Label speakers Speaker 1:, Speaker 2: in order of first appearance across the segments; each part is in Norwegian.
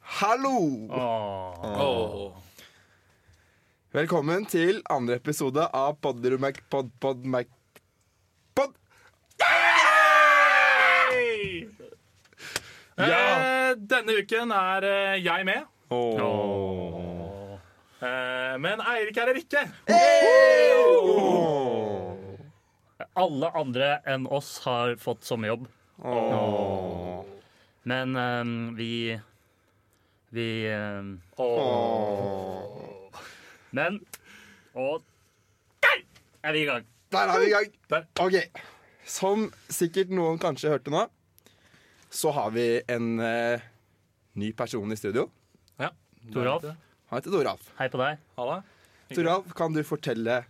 Speaker 1: Hallo! Velkommen til andre episode av Podrumek pod, pod, Mac, pod.
Speaker 2: Eh, denne uken er eh, jeg med. Eh, men Eirik er her ikke.
Speaker 3: Alle andre enn oss har fått sommerjobb. Men eh, vi Vi eh, Men Og der er vi i gang.
Speaker 1: Der er vi i gang.
Speaker 2: Der.
Speaker 1: Ok. Som sikkert noen kanskje hørte nå, så har vi en eh, ny person i studio.
Speaker 2: Ja.
Speaker 3: Toralf,
Speaker 1: Han heter Toralf.
Speaker 3: hei på deg.
Speaker 2: Halla.
Speaker 1: Toralf, kan du fortelle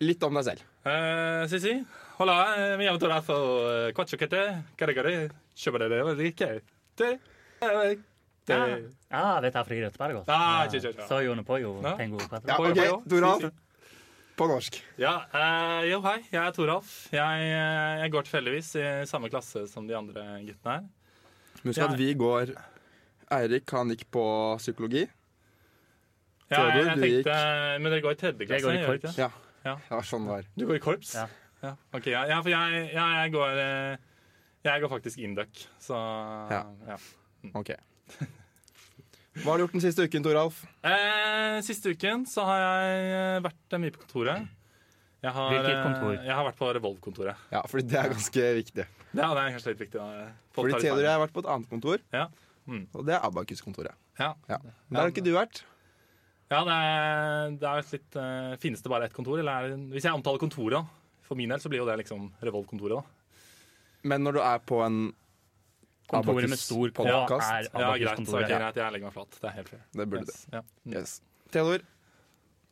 Speaker 1: litt om deg selv?
Speaker 2: Eh, Sissi. Hola. eh, Mi llamo Toralf. og, eh, Quattro kete. Care care. Kjøper dere hva dere liker. Te. Eh, te.
Speaker 3: Ja, ah, dette er fra Grøteberg. altså.
Speaker 2: Ah, tja, tja, tja.
Speaker 3: Så Jone Poyo
Speaker 2: Ja.
Speaker 3: tengo på
Speaker 1: Ja,
Speaker 3: det.
Speaker 2: Poyo,
Speaker 1: ok,
Speaker 2: poyo.
Speaker 1: Toralf. På norsk.
Speaker 2: Ja, eh, jo, hei. Jeg er Toralf. Jeg, eh, jeg går tilfeldigvis i samme klasse som de andre guttene her.
Speaker 1: Husk at
Speaker 2: Ja.
Speaker 1: vi går Eirik, han gikk på psykologi.
Speaker 2: Ja, jeg,
Speaker 1: Theodor,
Speaker 2: jeg
Speaker 1: du gikk-
Speaker 2: tenkte, men dere går i tredje
Speaker 3: Jeg
Speaker 2: klasse?
Speaker 3: går i
Speaker 2: gjør dere
Speaker 3: korps.
Speaker 1: Ja,
Speaker 2: Ja.
Speaker 1: ja sånn var
Speaker 2: Du går i korps?
Speaker 3: Ja.
Speaker 2: Ja, Ok, ja, ja, for jeg, ja, jeg går eh, Jeg går faktisk induck, så ja. Mm.
Speaker 1: Ok. Hva har du gjort den siste uken, Toralf?
Speaker 2: Eh, siste uken så har jeg eh, vært eh, mye på kontoret. Jeg har,
Speaker 3: Hvilket
Speaker 2: eh,
Speaker 3: kontor?
Speaker 2: Jeg har vært på Revolv-kontoret.
Speaker 1: Ja, fordi det er ganske viktig.
Speaker 2: Ja, det er kanskje litt viktig. Da. Folk
Speaker 1: Fordi
Speaker 2: tar litt
Speaker 1: Theodor og jeg
Speaker 2: feil.
Speaker 1: har vært på et annet kontor,
Speaker 2: Ja.
Speaker 3: Mm.
Speaker 1: og det er Abakus-kontoret.
Speaker 2: Ja,
Speaker 1: Ja. Men Der har ikke du vært.
Speaker 2: ja det er, det er litt eh, Finnes det bare ett kontor? Eller er det, hvis jeg omtaler kontoret, da, for min del, så blir jo det liksom Revolv-kontoret, da.
Speaker 1: Men når du er på en
Speaker 3: Kontoret med stor K
Speaker 1: Abacus-podcast.
Speaker 3: er
Speaker 2: Ja, greit. Så, ok,
Speaker 3: Abakus-kontoret.
Speaker 2: greit. Jeg legger meg flat. Det er helt fair.
Speaker 1: Det burde
Speaker 2: yes. Ja. Mm.
Speaker 1: Yes. Theodor,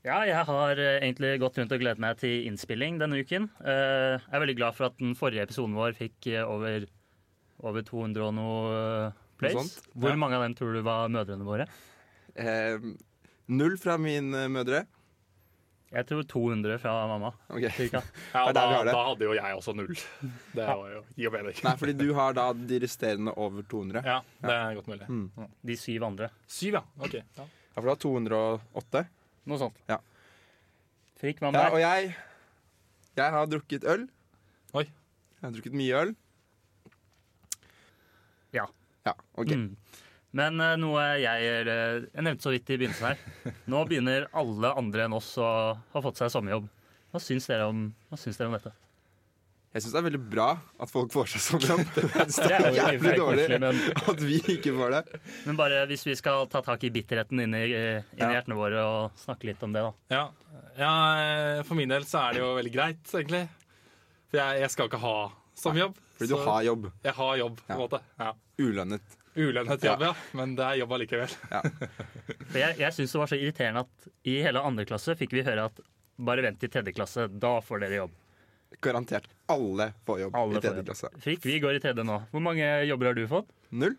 Speaker 3: Ja, jeg har eh, egentlig gått rundt og gledet meg til innspilling denne uken. Eh, Jeg er veldig glad for at den forrige episoden vår fikk eh, over, over 200 og noe eh, plays.
Speaker 1: sånt.
Speaker 3: Hvor
Speaker 2: Ja.
Speaker 3: mange av dem tror du var mødrene våre?
Speaker 1: eh, null fra min eh, mødre.
Speaker 3: Jeg tror 200 fra mamma.
Speaker 1: Ok.
Speaker 3: Cirka.
Speaker 1: Det er
Speaker 2: Ja, da,
Speaker 1: der vi har det.
Speaker 2: da hadde jo jeg også null. Det var jo gir jo mening.
Speaker 1: Nei, fordi du har da de resterende over 200. Ja,
Speaker 2: Ja, det er godt mulig.
Speaker 3: De syv andre.
Speaker 2: Syv, ja. Ok. Ja.
Speaker 1: for du har 208.
Speaker 3: Noe sånt.
Speaker 1: Ja.
Speaker 3: Frikk mann
Speaker 1: Ja,
Speaker 3: der.
Speaker 1: og jeg Jeg har drukket øl.
Speaker 2: Oi.
Speaker 1: Jeg har drukket mye øl.
Speaker 3: Ja.
Speaker 1: Ja, ok.
Speaker 3: Mm. Men eh, noe jeg, eh, jeg nevnte så vidt i begynnelsen her. Nå begynner alle andre enn oss å ha fått seg sommerjobb. Hva syns dere om, hva syns dere om dette?
Speaker 1: Jeg syns det er veldig bra at folk får seg sommerjobb. Jeg synes
Speaker 3: Det
Speaker 1: det er
Speaker 3: er jo i og for
Speaker 1: jævlig
Speaker 3: seg koselig,
Speaker 1: dårlig
Speaker 3: men,
Speaker 1: at vi ikke får det.
Speaker 3: men bare hvis vi skal ta tak i bitterheten inni, eh, inni
Speaker 1: Ja.
Speaker 3: hjertene våre og snakke litt om det, da.
Speaker 2: Ja. ja, eh, for min del så er det jo veldig greit, egentlig. For jeg, jeg skal ikke ha som jobb.
Speaker 1: Fordi du
Speaker 2: så
Speaker 1: har jobb.
Speaker 2: Jeg har jobb, på en
Speaker 1: Ja.
Speaker 2: måte. Ja.
Speaker 1: Ulønnet.
Speaker 2: Ulønnet jobb, ja. Men det er jobb allikevel.
Speaker 3: For jeg, jeg syns det var så irriterende at i hele andre klasse fikk vi høre at bare vent til tredje klasse, da får dere jobb.
Speaker 1: Garantert alle får jobb
Speaker 3: Alle
Speaker 1: i tredje
Speaker 3: får
Speaker 1: klasse.
Speaker 3: jobb. Frikk, vi går i tredje nå. Hvor mange jobber har du fått,
Speaker 1: Null.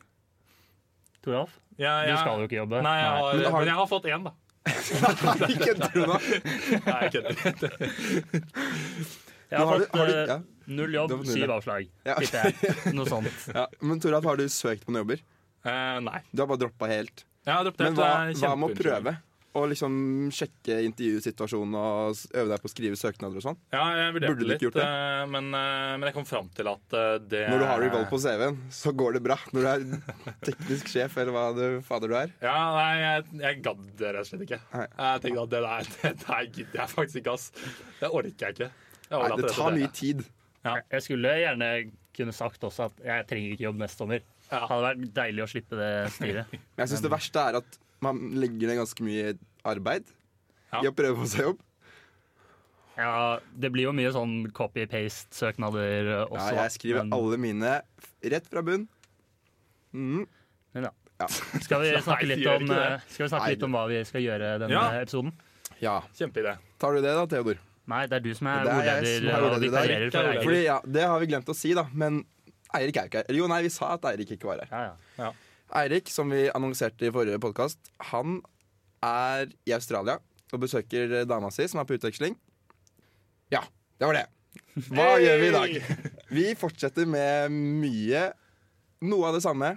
Speaker 3: Toralf?
Speaker 2: Ja,
Speaker 3: Du
Speaker 2: jeg-
Speaker 3: skal jo ikke jobbe.
Speaker 2: Nei, jeg har,
Speaker 1: Men
Speaker 2: men,
Speaker 1: har du-
Speaker 2: jeg har fått én, da.
Speaker 1: Nei, kødder du nå?
Speaker 2: Nei, jeg kødder.
Speaker 3: Jeg har
Speaker 1: Har du-
Speaker 3: fått
Speaker 1: har du-
Speaker 3: eh,
Speaker 1: ja.
Speaker 3: null
Speaker 1: Du
Speaker 3: jobb,
Speaker 1: har fått null,
Speaker 3: syv
Speaker 1: ja.
Speaker 3: avslag.
Speaker 1: Ja.
Speaker 3: Tipper jeg. Noe sånt.
Speaker 1: Ja, men Toralf, har du søkt på noen jobber?
Speaker 2: Eh, nei.
Speaker 1: Du har bare droppa helt.
Speaker 2: Jeg har droppet
Speaker 1: Men
Speaker 2: helt,
Speaker 1: hva,
Speaker 2: det er
Speaker 1: hva med å
Speaker 2: kjempeunnskyldning.
Speaker 1: prøve? Å liksom sjekke intervjusituasjonen og s- øve deg på å skrive søknader og sånn?
Speaker 2: Ja, jeg
Speaker 1: Burde
Speaker 2: vurderte
Speaker 1: du ikke
Speaker 2: litt,
Speaker 1: gjort det?
Speaker 2: eh, men, eh, men jeg kom fram til at eh, det
Speaker 1: Når du har Revolve på CV-en, så går det bra. Når du er teknisk sjef, eller hva du, fader du er.
Speaker 2: Ja, nei, jeg, jeg gadd det rett og slett ikke.
Speaker 1: Nei.
Speaker 2: Jeg tenkte at det der, det der gidder jeg faktisk ikke, ass. Det orker jeg ikke. Jeg
Speaker 1: Nei,
Speaker 2: overlater
Speaker 1: det
Speaker 2: til
Speaker 1: tar
Speaker 2: dere.
Speaker 1: mye tid.
Speaker 3: Jeg- Jeg skulle gjerne kunne sagt også at jeg trenger ikke jobb neste sommer.
Speaker 2: Ja.
Speaker 3: Hadde vært deilig å slippe det styret.
Speaker 1: Men jeg syns det verste er at man legger ned ganske mye arbeid
Speaker 2: Ja.
Speaker 1: i å prøve på seg jobb.
Speaker 3: Ja, det blir jo mye sånn copy-paste-søknader eh,
Speaker 1: Ja,
Speaker 3: også.
Speaker 1: jeg skriver
Speaker 3: men,
Speaker 1: alle mine f- rett fra bunn. Mm.
Speaker 3: men ja.
Speaker 1: Ja.
Speaker 3: Skal vi snakke
Speaker 2: Nei,
Speaker 3: litt
Speaker 2: gjør
Speaker 3: om,
Speaker 2: ikke
Speaker 3: eh,
Speaker 2: det.
Speaker 3: skal vi snakke
Speaker 1: Nei,
Speaker 3: litt om hva vi skal gjøre denne
Speaker 2: Ja.
Speaker 3: episoden?
Speaker 1: ja.
Speaker 2: Kjempeidé.
Speaker 1: Tar du det da, Theodor?
Speaker 3: Nei, det er du som er
Speaker 1: Det er jeg
Speaker 3: ordleder
Speaker 1: som er
Speaker 3: og
Speaker 1: ordleder i dag.
Speaker 3: vikarierer for
Speaker 2: Jeg er
Speaker 3: Eirik.
Speaker 1: Fordi, ja, Det har vi glemt å si, da. Men Eirik er jo ikke her. Eller Jo, nei, vi sa at Eirik ikke var her.
Speaker 3: Ja, ja.
Speaker 1: Eirik, som vi annonserte i forrige podkast, han er i Australia og besøker dama si, som er på utveksling. Ja, det var det. Hva gjør vi i dag? Vi fortsetter med mye Noe av det samme.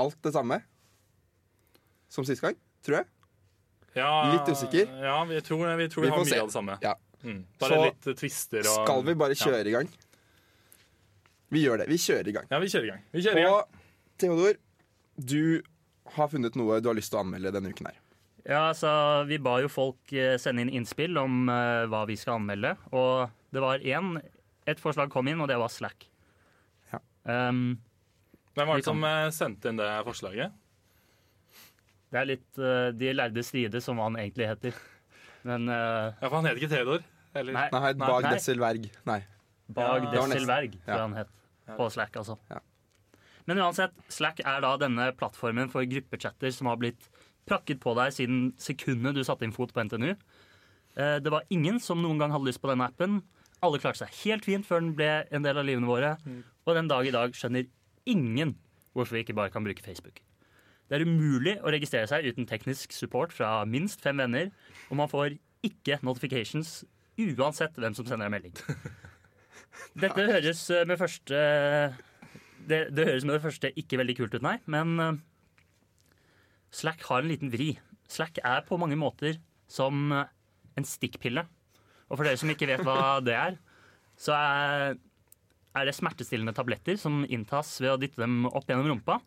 Speaker 1: Alt det samme. Som sist gang, tror jeg.
Speaker 2: Ja,
Speaker 1: Litt usikker.
Speaker 2: Ja, vi tror, vi tror
Speaker 1: Vi
Speaker 2: vi,
Speaker 1: får
Speaker 2: har mye
Speaker 1: se.
Speaker 2: av det samme.
Speaker 1: Ja.
Speaker 2: Mm. Bare
Speaker 1: Så
Speaker 2: litt eh, twister og
Speaker 1: Skal vi bare
Speaker 2: Ja.
Speaker 1: kjøre i gang? Vi gjør det. Vi kjører i gang.
Speaker 2: Ja, vi kjører i gang. Vi kjører i gang.
Speaker 1: Og Theodor, du har funnet noe du har lyst til å anmelde denne uken her.
Speaker 3: Ja, altså, Vi ba jo folk eh, sende inn innspill om eh, hva vi skal anmelde. Og det var én Et forslag kom inn, og det var Slack.
Speaker 1: Ja.
Speaker 3: Um,
Speaker 2: Hvem var
Speaker 3: vi
Speaker 2: det som eh, sendte inn det forslaget?
Speaker 3: det er litt eh, De lærde stride, som han egentlig heter. Men eh,
Speaker 2: Ja, for han heter ikke Theodor. Eller?
Speaker 3: Nei.
Speaker 1: Nei, Bag
Speaker 3: nei.
Speaker 1: Desselverg. Nei.
Speaker 3: Bag
Speaker 2: Ja.
Speaker 1: Det var nesten-
Speaker 3: Desselberg, tror
Speaker 1: ja.
Speaker 3: jeg han het. På Slack, altså.
Speaker 1: Ja.
Speaker 3: Men uansett, Slack er da denne plattformen for gruppechatter som har blitt prakket på deg siden sekundet du satte inn fot på NTNU. Eh, Det var ingen som noen gang hadde lyst på denne appen. Alle klarte seg helt fint før den ble en del av livene våre.
Speaker 1: Mm.
Speaker 3: Og den dag i dag skjønner ingen hvorfor vi ikke bare kan bruke Facebook. Det er umulig å registrere seg uten teknisk support fra minst fem venner, og man får ikke notifications uansett hvem som sender en melding. Dette høres eh, med første det, det høres med det første ikke veldig kult ut, nei, men eh, Slack har en liten vri. Slack er på mange måter som eh, en stikkpille. Og for dere som ikke vet hva det er, så er, er det smertestillende tabletter som inntas ved å dytte dem opp gjennom rumpa.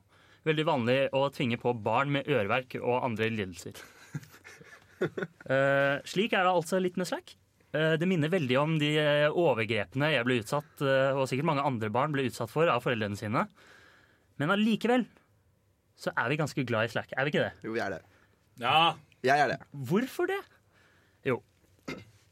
Speaker 3: Veldig vanlig å tvinge på barn med øreverk og andre lidelser. Eh, slik er det altså litt med Slack. Eh, Det minner veldig om de eh, overgrepene jeg ble utsatt, eh, og sikkert mange andre barn ble utsatt for av foreldrene sine. Men allikevel så er vi ganske glad i Slack, er vi ikke det?
Speaker 1: Jo, vi er det.
Speaker 2: Ja,
Speaker 1: Jeg er det.
Speaker 3: Hvorfor det? Jo,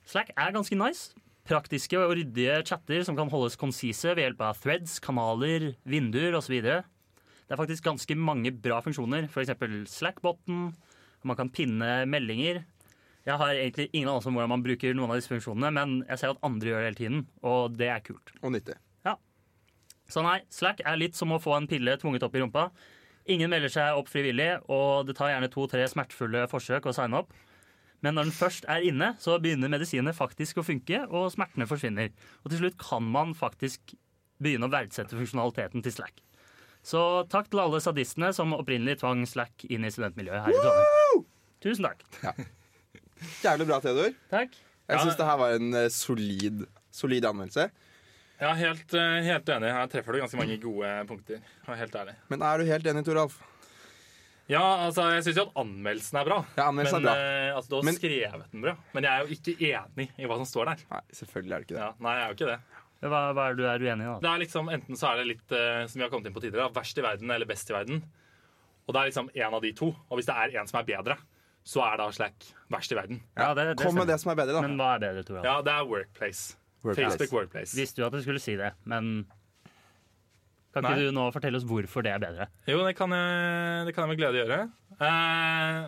Speaker 3: Slack er ganske nice. Praktiske og ryddige chatter som kan holdes konsise ved hjelp av threads, kanaler, vinduer osv. Det er faktisk ganske mange bra funksjoner, f.eks. Slack-botten. og Man kan pinne meldinger. Jeg har egentlig ingen anelse om hvordan man bruker noen av disse funksjonene, men jeg ser at andre gjør det hele tiden, og det er kult.
Speaker 1: Og nyttig.
Speaker 3: Så nei, Slack er litt som å få en pille tvunget opp i rumpa. Ingen melder seg opp frivillig, og det tar gjerne to-tre smertefulle forsøk å signe opp. Men når den først er inne, så begynner medisinene faktisk å funke, og smertene forsvinner. Og til slutt kan man faktisk begynne å verdsette funksjonaliteten til Slack. Så takk til alle sadistene som opprinnelig tvang Slack inn i studentmiljøet her i Trondheim. Tusen takk.
Speaker 1: Jævlig bra, Theodor.
Speaker 3: Takk.
Speaker 1: Jeg
Speaker 2: Ja,
Speaker 1: syns
Speaker 2: det-
Speaker 1: det her var en eh, solid, solid anmeldelse.
Speaker 2: jeg er helt, eh, helt enig. Her treffer du ganske mange gode punkter. Jeg er helt ærlig.
Speaker 1: Men er du helt enig, Toralf?
Speaker 2: Ja, altså, jeg syns jo at anmeldelsen er bra.
Speaker 1: Ja, anmeldelsen
Speaker 2: men,
Speaker 1: er bra.
Speaker 2: eh, altså, du har
Speaker 1: Men-
Speaker 2: skrevet den bra. Men jeg er jo ikke enig i hva som står der.
Speaker 1: Nei, selvfølgelig er det ikke det.
Speaker 2: Ja, nei, jeg er jo ikke det.
Speaker 3: Hva, hva er det du er uenig i, da?
Speaker 2: Det er liksom, Enten så er det litt eh, som vi har kommet inn på tidligere, da, verst i verden eller best i verden. Og det er liksom én av de to. Og hvis det er en som er bedre, så er da Slack verst i verden.
Speaker 3: Ja, det, det
Speaker 1: Kom med
Speaker 3: stemmer.
Speaker 1: det som er bedre, da.
Speaker 3: Men hva er bedre, Tora?
Speaker 2: Ja, det er Workplace.
Speaker 1: Workplace.
Speaker 2: Facebook Workplace.
Speaker 3: Visste jo at du skulle si det, men kan ikke
Speaker 2: Nei.
Speaker 3: du nå fortelle oss hvorfor det er bedre?
Speaker 2: Jo, det kan jeg, det kan jeg med glede gjøre. Eh,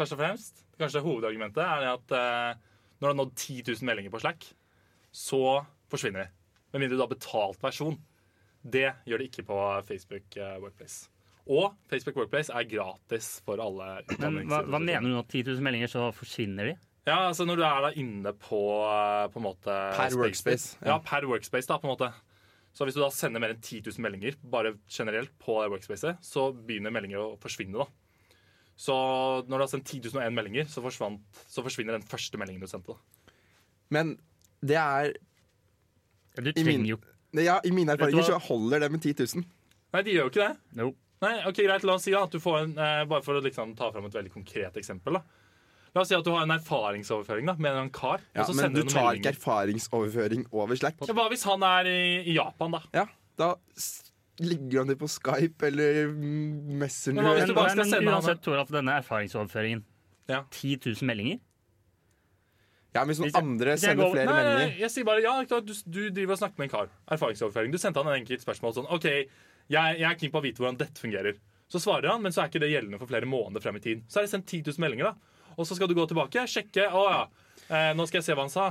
Speaker 2: først og fremst, kanskje hovedargumentet er det at eh, når du har nådd 10 000 meldinger på Slack, så forsvinner de. Med mindre du har betalt versjon. Det gjør det ikke på Facebook eh, Workplace. Og Facebook Workplace er gratis for alle
Speaker 3: Men hva, hva mener du nå? 10 000 meldinger, så forsvinner de?
Speaker 2: Ja, altså Når du er da inne på eh, på en måte
Speaker 1: Per
Speaker 2: space-
Speaker 1: workspace, ja.
Speaker 2: Ja. per workspace, da, på en måte. Så hvis du da sender mer enn 10 000 meldinger bare generelt på det workspacet, så begynner meldinger å forsvinne, da. Så når du har sendt 10 001 meldinger, så, forsvant, så forsvinner den første meldingen du sendte. da.
Speaker 1: Men det er
Speaker 3: Ja,
Speaker 1: I
Speaker 3: Du
Speaker 1: min-
Speaker 3: trenger jo
Speaker 1: ja, I mine
Speaker 3: Vet du
Speaker 1: erfaringer så
Speaker 3: hva?
Speaker 1: holder det med 10 000.
Speaker 2: Nei, de gjør jo ikke det.
Speaker 3: Jo.
Speaker 2: Nei, ok, greit, La oss si da, at du får en eh, Bare for å liksom ta fram et veldig konkret eksempel. da. La oss si at du har en erfaringsoverføring da, med en eller annen kar.
Speaker 1: Ja,
Speaker 2: og så
Speaker 1: men
Speaker 2: sender
Speaker 1: du
Speaker 2: noen
Speaker 1: tar ikke
Speaker 2: meldinger.
Speaker 1: erfaringsoverføring over Slack.
Speaker 2: Ja, Hva hvis han er i, i Japan, da?
Speaker 1: Ja, da s- ligger han det på Skype eller mm,
Speaker 2: Men hva hvis
Speaker 1: Messenger.
Speaker 2: du
Speaker 3: Men,
Speaker 2: bare skal
Speaker 3: men
Speaker 2: sende han-
Speaker 3: uansett, Toralf, denne erfaringsoverføringen.
Speaker 2: Ja.
Speaker 3: 10 000 meldinger?
Speaker 1: Ja, men Hvis noen
Speaker 3: Hvis jeg-
Speaker 1: andre
Speaker 3: hvis jeg
Speaker 1: sender
Speaker 3: går-
Speaker 1: flere
Speaker 2: Nei,
Speaker 1: meldinger
Speaker 2: jeg sier bare ja. ikke sant? Du, du driver og snakker med en kar. Erfaringsoverføring. Du sendte han en enkelt spørsmål sånn OK, jeg, jeg er keen på å vite hvordan dette fungerer. Så svarer han, men så er ikke det gjeldende for flere måneder frem i tid. Så er det sendt 10 000 meldinger, da. Og så skal du gå tilbake, sjekke. Å ja, eh, nå skal jeg se hva han sa.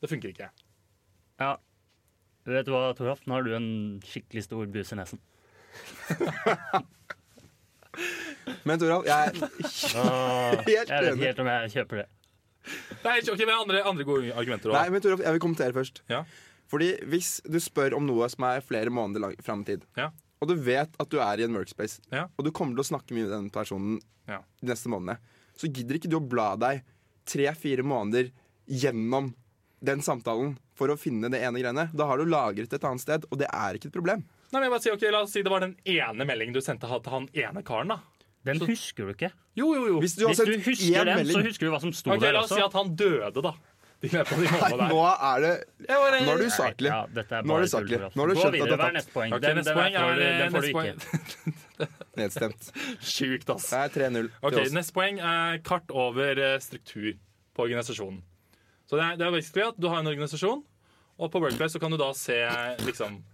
Speaker 2: Det funker ikke.
Speaker 3: Ja. Vet du hva, Toralf? Nå har du en skikkelig stor bus i nesen.
Speaker 1: Men Toralf, jeg er helt
Speaker 3: Jeg vet ikke
Speaker 1: enig.
Speaker 3: helt om jeg kjøper det.
Speaker 2: Nei, ok, men andre, andre gode argumenter
Speaker 1: Nei,
Speaker 2: òg.
Speaker 1: men Torolf, jeg vil kommentere først.
Speaker 2: Ja.
Speaker 1: Fordi hvis du spør om noe som er flere måneder lang fram i tid,
Speaker 2: Ja.
Speaker 1: og du vet at du er i en workspace,
Speaker 2: Ja.
Speaker 1: og du kommer til å snakke mye med den personen
Speaker 2: Ja.
Speaker 1: de neste månedene, så gidder ikke du å bla deg tre-fire måneder gjennom den samtalen for å finne det ene greiene. Da har du lagret det et annet sted, og det er ikke et problem.
Speaker 2: Nei, men jeg bare sier, ok, La oss si det var den ene meldingen du sendte til han ene karen. da.
Speaker 3: Den husker du ikke.
Speaker 2: Jo, jo, jo.
Speaker 1: Hvis du har
Speaker 3: Hvis du
Speaker 1: sendt
Speaker 3: husker
Speaker 1: én
Speaker 3: den, så
Speaker 1: melding
Speaker 3: husker du hva som sto
Speaker 2: Ok,
Speaker 3: der
Speaker 2: La oss
Speaker 3: også.
Speaker 2: si at han døde, da. I løpet av de
Speaker 1: Nei,
Speaker 2: månedene der.
Speaker 1: nå er det
Speaker 2: Jeg bare-
Speaker 1: Nå er du usaklig.
Speaker 3: Ja, dette er
Speaker 1: Nå har
Speaker 3: bare
Speaker 1: du sagt
Speaker 3: tull,
Speaker 1: det.
Speaker 3: Toralf.
Speaker 1: Nå har du
Speaker 3: Gå
Speaker 1: skjønt at
Speaker 3: videre,
Speaker 1: det er
Speaker 3: Hva er
Speaker 1: tapt.
Speaker 3: neste poeng?
Speaker 2: Ok,
Speaker 3: Den,
Speaker 2: neste
Speaker 3: den,
Speaker 2: poeng
Speaker 3: får
Speaker 2: er, eh,
Speaker 3: du, den får du
Speaker 2: neste
Speaker 3: ikke.
Speaker 2: poeng.
Speaker 1: Nedstemt.
Speaker 2: Sjukt, ass.
Speaker 1: Det er 3-0. til
Speaker 2: Ok,
Speaker 1: oss.
Speaker 2: Neste poeng er kart over eh, struktur på organisasjonen. Så det er, det er basically at Du har en organisasjon, og på Workplace så kan du da se liksom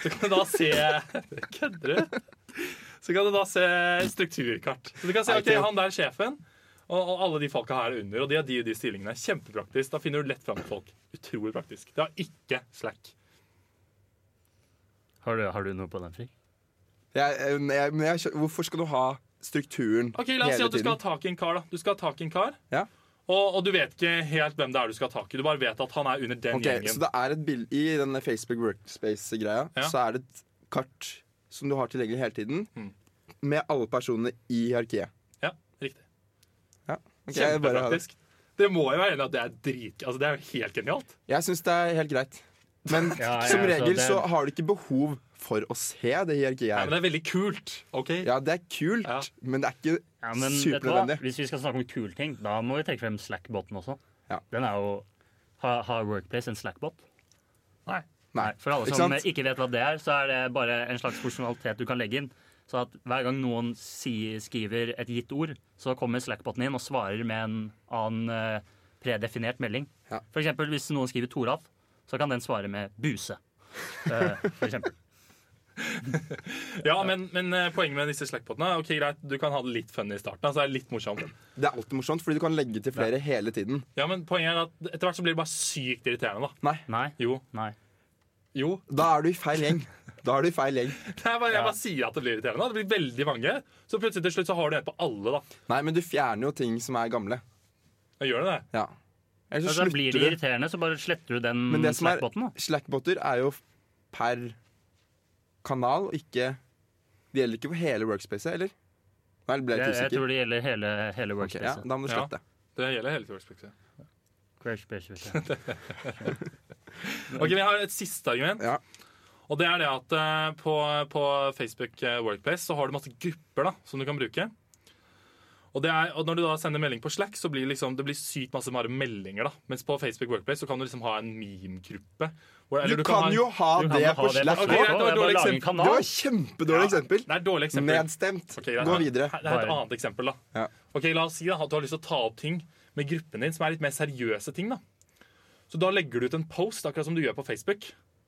Speaker 2: Så kan du da se Kødder du? Så kan du da se strukturkart. Så du kan se ok, han der er sjefen, og, og alle de folka her er under. Og de har de og de stillingene. Kjempepraktisk. Da finner du lett fram til folk. Utrolig praktisk. Det har ikke Slack.
Speaker 3: Har du, har du noe på den, Frik?
Speaker 1: Jeg, eh, jeg, men jeg, skjø- hvorfor skal du ha strukturen
Speaker 2: Ok, La oss si
Speaker 1: hele
Speaker 2: at du skal ha
Speaker 1: tiden?
Speaker 2: tak i en kar. da. Du skal ha tak i en kar.
Speaker 1: Ja.
Speaker 2: Og, og du vet ikke helt hvem det er du skal ha tak i. Du bare vet at han er under den
Speaker 1: Ok, så
Speaker 2: gjengen.
Speaker 1: det er et bild I denne Facebook Workspace-greia
Speaker 2: Ja.
Speaker 1: så er det et kart som du har tilgjengelig hele tiden,
Speaker 2: Mm.
Speaker 1: med alle personene i hierarkiet.
Speaker 2: Ja, riktig.
Speaker 1: Ja. ok, jeg bare har-
Speaker 2: Kjempepraktisk. Det må jo være enig at det er drit... Altså, det er jo helt genialt.
Speaker 1: jeg syns det er helt greit. Men
Speaker 3: Ja, ja,
Speaker 1: som
Speaker 3: altså,
Speaker 1: regel
Speaker 3: det-
Speaker 1: så har du ikke behov for å se det hierarkiet
Speaker 2: Nei, men
Speaker 1: her.
Speaker 2: det er veldig kult. ok?
Speaker 1: Ja, det er kult,
Speaker 2: Ja.
Speaker 1: men det er ikke
Speaker 3: Ja, men vet du hva?
Speaker 1: supernødvendig.
Speaker 3: Hvis vi skal snakke om kule ting, da må vi trekke frem Slack-boten også.
Speaker 1: Ja.
Speaker 3: Den er jo Har har Workplace en Slack-bot?
Speaker 2: Nei.
Speaker 1: Nei.
Speaker 3: For alle
Speaker 1: Ikke
Speaker 3: som
Speaker 1: sant?
Speaker 3: ikke vet hva det er, så er det bare en slags funksjonalitet du kan legge inn. Så at hver gang noen si, skriver et gitt ord, så kommer Slack-boten inn og svarer med en annen eh, predefinert melding.
Speaker 1: Ja.
Speaker 3: For eksempel hvis noen skriver Toralf, så kan den svare med buse. Eh, for eksempel.
Speaker 2: Ja, men, men eh, poenget med disse slackpotene er ok, greit, du kan ha det litt funny i starten. altså det er litt morsomt.
Speaker 1: Det er alltid morsomt, fordi du kan legge til flere hele tiden.
Speaker 2: Ja, Men poenget er at etter hvert så blir det bare sykt irriterende. da.
Speaker 1: Nei,
Speaker 3: Nei.
Speaker 2: Jo.
Speaker 3: Nei.
Speaker 2: Jo.
Speaker 1: da er du i feil gjeng. Da er du i feil gjeng.
Speaker 2: Det er bare, jeg bare sier at det blir irriterende. da. Det blir veldig mange. Så plutselig til slutt så har du en på alle. da.
Speaker 1: Nei, men du fjerner jo ting som er gamle.
Speaker 2: Ja, Gjør det det?
Speaker 1: Ja. Ellers så
Speaker 3: Altså, blir det
Speaker 1: slutter du.
Speaker 3: irriterende, så bare sletter du den
Speaker 1: Men det som er-
Speaker 3: Slack-boten. Mm, da.
Speaker 1: Slackboter er jo per kanal, og ikke Det gjelder ikke for hele workspacet, eller? Nei, ble jeg
Speaker 3: Jeg,
Speaker 1: litt
Speaker 3: jeg
Speaker 1: usikker?
Speaker 3: tror det gjelder hele, hele
Speaker 1: Ok, ja,
Speaker 3: workspacet.
Speaker 1: da må du
Speaker 2: Ja.
Speaker 1: slette.
Speaker 2: Det gjelder hele Workspace.
Speaker 3: Workspace, vet du.
Speaker 2: Ok, Vi har et siste argument.
Speaker 1: Ja.
Speaker 2: Og det er det at eh, på, på Facebook eh, Workplace så har du masse grupper da, som du kan bruke. Og, det er, og når du da sender melding på Slack, så blir det liksom, det blir sykt masse bare meldinger. da. Mens på Facebook Workplace så kan du liksom ha en meme-gruppe. Hvor-
Speaker 1: Du,
Speaker 2: eller
Speaker 1: kan jo ha
Speaker 3: Du kan
Speaker 1: det
Speaker 3: jo ha
Speaker 1: på
Speaker 3: det på
Speaker 1: Slack.
Speaker 3: Slack.
Speaker 1: Det
Speaker 2: Ok, greit, det var et
Speaker 3: Bare
Speaker 2: dårlig
Speaker 3: lage en
Speaker 2: eksempel.
Speaker 3: kanal.
Speaker 1: var et kjempedårlig eksempel.
Speaker 2: Det er et dårlig eksempel.
Speaker 1: Nedstemt.
Speaker 2: Ok, greit.
Speaker 1: Gå videre.
Speaker 2: Her, her er et
Speaker 3: Bare-
Speaker 2: annet eksempel. da.
Speaker 1: Ja.
Speaker 2: Ok, La oss si da, at du har lyst til å ta opp ting med gruppen din som er litt mer seriøse ting. da. Så da legger du ut en post, akkurat som du gjør på Facebook.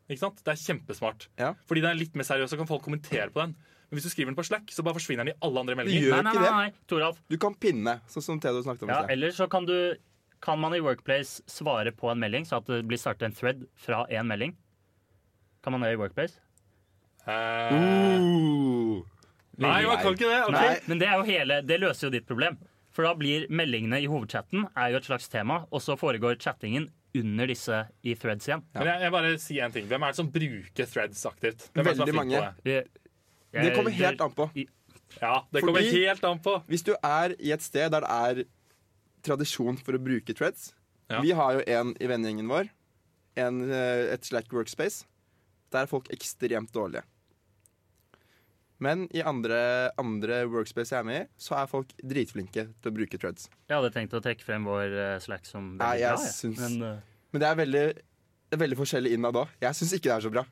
Speaker 2: Ikke sant? Det er kjempesmart.
Speaker 1: Ja.
Speaker 2: Fordi den er litt mer seriøs, så kan folk kommentere på den. Men hvis du skriver den på Slack, så bare forsvinner den i alle andre
Speaker 1: Du
Speaker 2: meldinger.
Speaker 1: gjør-
Speaker 3: Nei, nei,
Speaker 1: ikke
Speaker 3: nei, nei. Toralf.
Speaker 1: Du kan pinne, sånn som Theodor snakket om i
Speaker 3: Ja,
Speaker 1: sted.
Speaker 3: eller så kan du kan man i Workplace svare på en melding, så at det blir startet en thread fra én melding? Kan man det i Workplace?
Speaker 2: Eh,
Speaker 1: Uh,
Speaker 2: nei, man kan ikke det. ok.
Speaker 1: Mm. Nei.
Speaker 3: Men det, er jo hele, det løser jo ditt problem. For da blir meldingene i hovedchatten er jo et slags tema, og så foregår chattingen under disse i threads igjen.
Speaker 2: Men jeg, jeg bare sier en ting. Hvem er det som bruker threads aktivt? Hvem er det som er
Speaker 1: Veldig
Speaker 2: flink
Speaker 1: mange.
Speaker 2: på det?
Speaker 3: Det,
Speaker 1: Det kommer helt an på.
Speaker 2: Ja, det kommer
Speaker 1: Fordi-
Speaker 2: helt an på.
Speaker 1: Hvis du er i et sted der det er tradisjon for å bruke threads
Speaker 2: Ja.
Speaker 1: Vi har jo en i vennegjengen vår, en, eh, et slack workspace. Der er folk ekstremt dårlige. Men i andre, andre workspace jeg er med i, så er folk dritflinke til å bruke threads.
Speaker 3: Jeg hadde tenkt å trekke frem vår eh, Slack som veldig
Speaker 1: Nei, jeg
Speaker 3: bra,
Speaker 1: syns-
Speaker 3: men eh,
Speaker 1: Men det er veldig, det er veldig forskjellig innad òg. Jeg syns ikke det er så bra.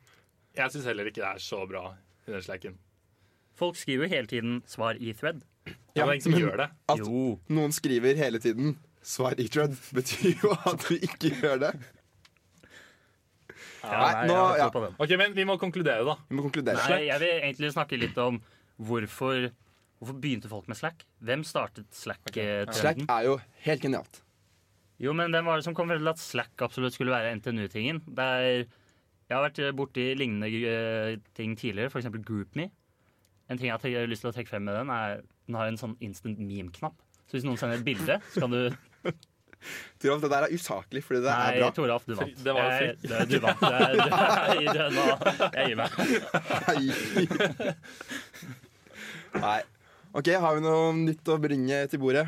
Speaker 2: Jeg syns heller ikke det er så bra i den slacken.
Speaker 3: folk skriver jo hele tiden svar i thread.
Speaker 1: Ja,
Speaker 2: Ja, det er ingen som
Speaker 1: men-
Speaker 2: gjør det.
Speaker 1: At
Speaker 3: Jo.
Speaker 1: noen skriver hele tiden 'svar i thread', betyr jo at du ikke gjør det.
Speaker 3: Ja,
Speaker 1: Nei,
Speaker 3: nei,
Speaker 1: nå-
Speaker 3: jeg
Speaker 1: ja.
Speaker 3: tror på den.
Speaker 2: Ok, Men vi må konkludere, da.
Speaker 1: Vi må konkludere.
Speaker 3: Nei, jeg vil egentlig snakke litt om hvorfor, hvorfor begynte folk med Slack? Hvem startet
Speaker 1: Slack
Speaker 3: Slack-trenden?
Speaker 1: er jo helt genialt.
Speaker 3: Jo, men hvem var det som kom frem til at Slack absolutt skulle være NTNU-tingen? Det er- Jeg har vært borti lignende eh, ting tidligere, f.eks. GroupMe. En ting jeg har lyst til å trekke frem med den, er den har en sånn instant meme-knapp. Så hvis noen sender et bilde, så kan du
Speaker 1: Toralf, det der er usaklig, fordi det
Speaker 3: Nei,
Speaker 1: er bra.
Speaker 3: Toralf, du vant.
Speaker 2: Fri- det var jo
Speaker 3: Jeg- det- Du vant. Det- det- det- det- Jeg gir meg.
Speaker 1: Nei. Nei. OK, har vi noe nytt å bringe til bordet?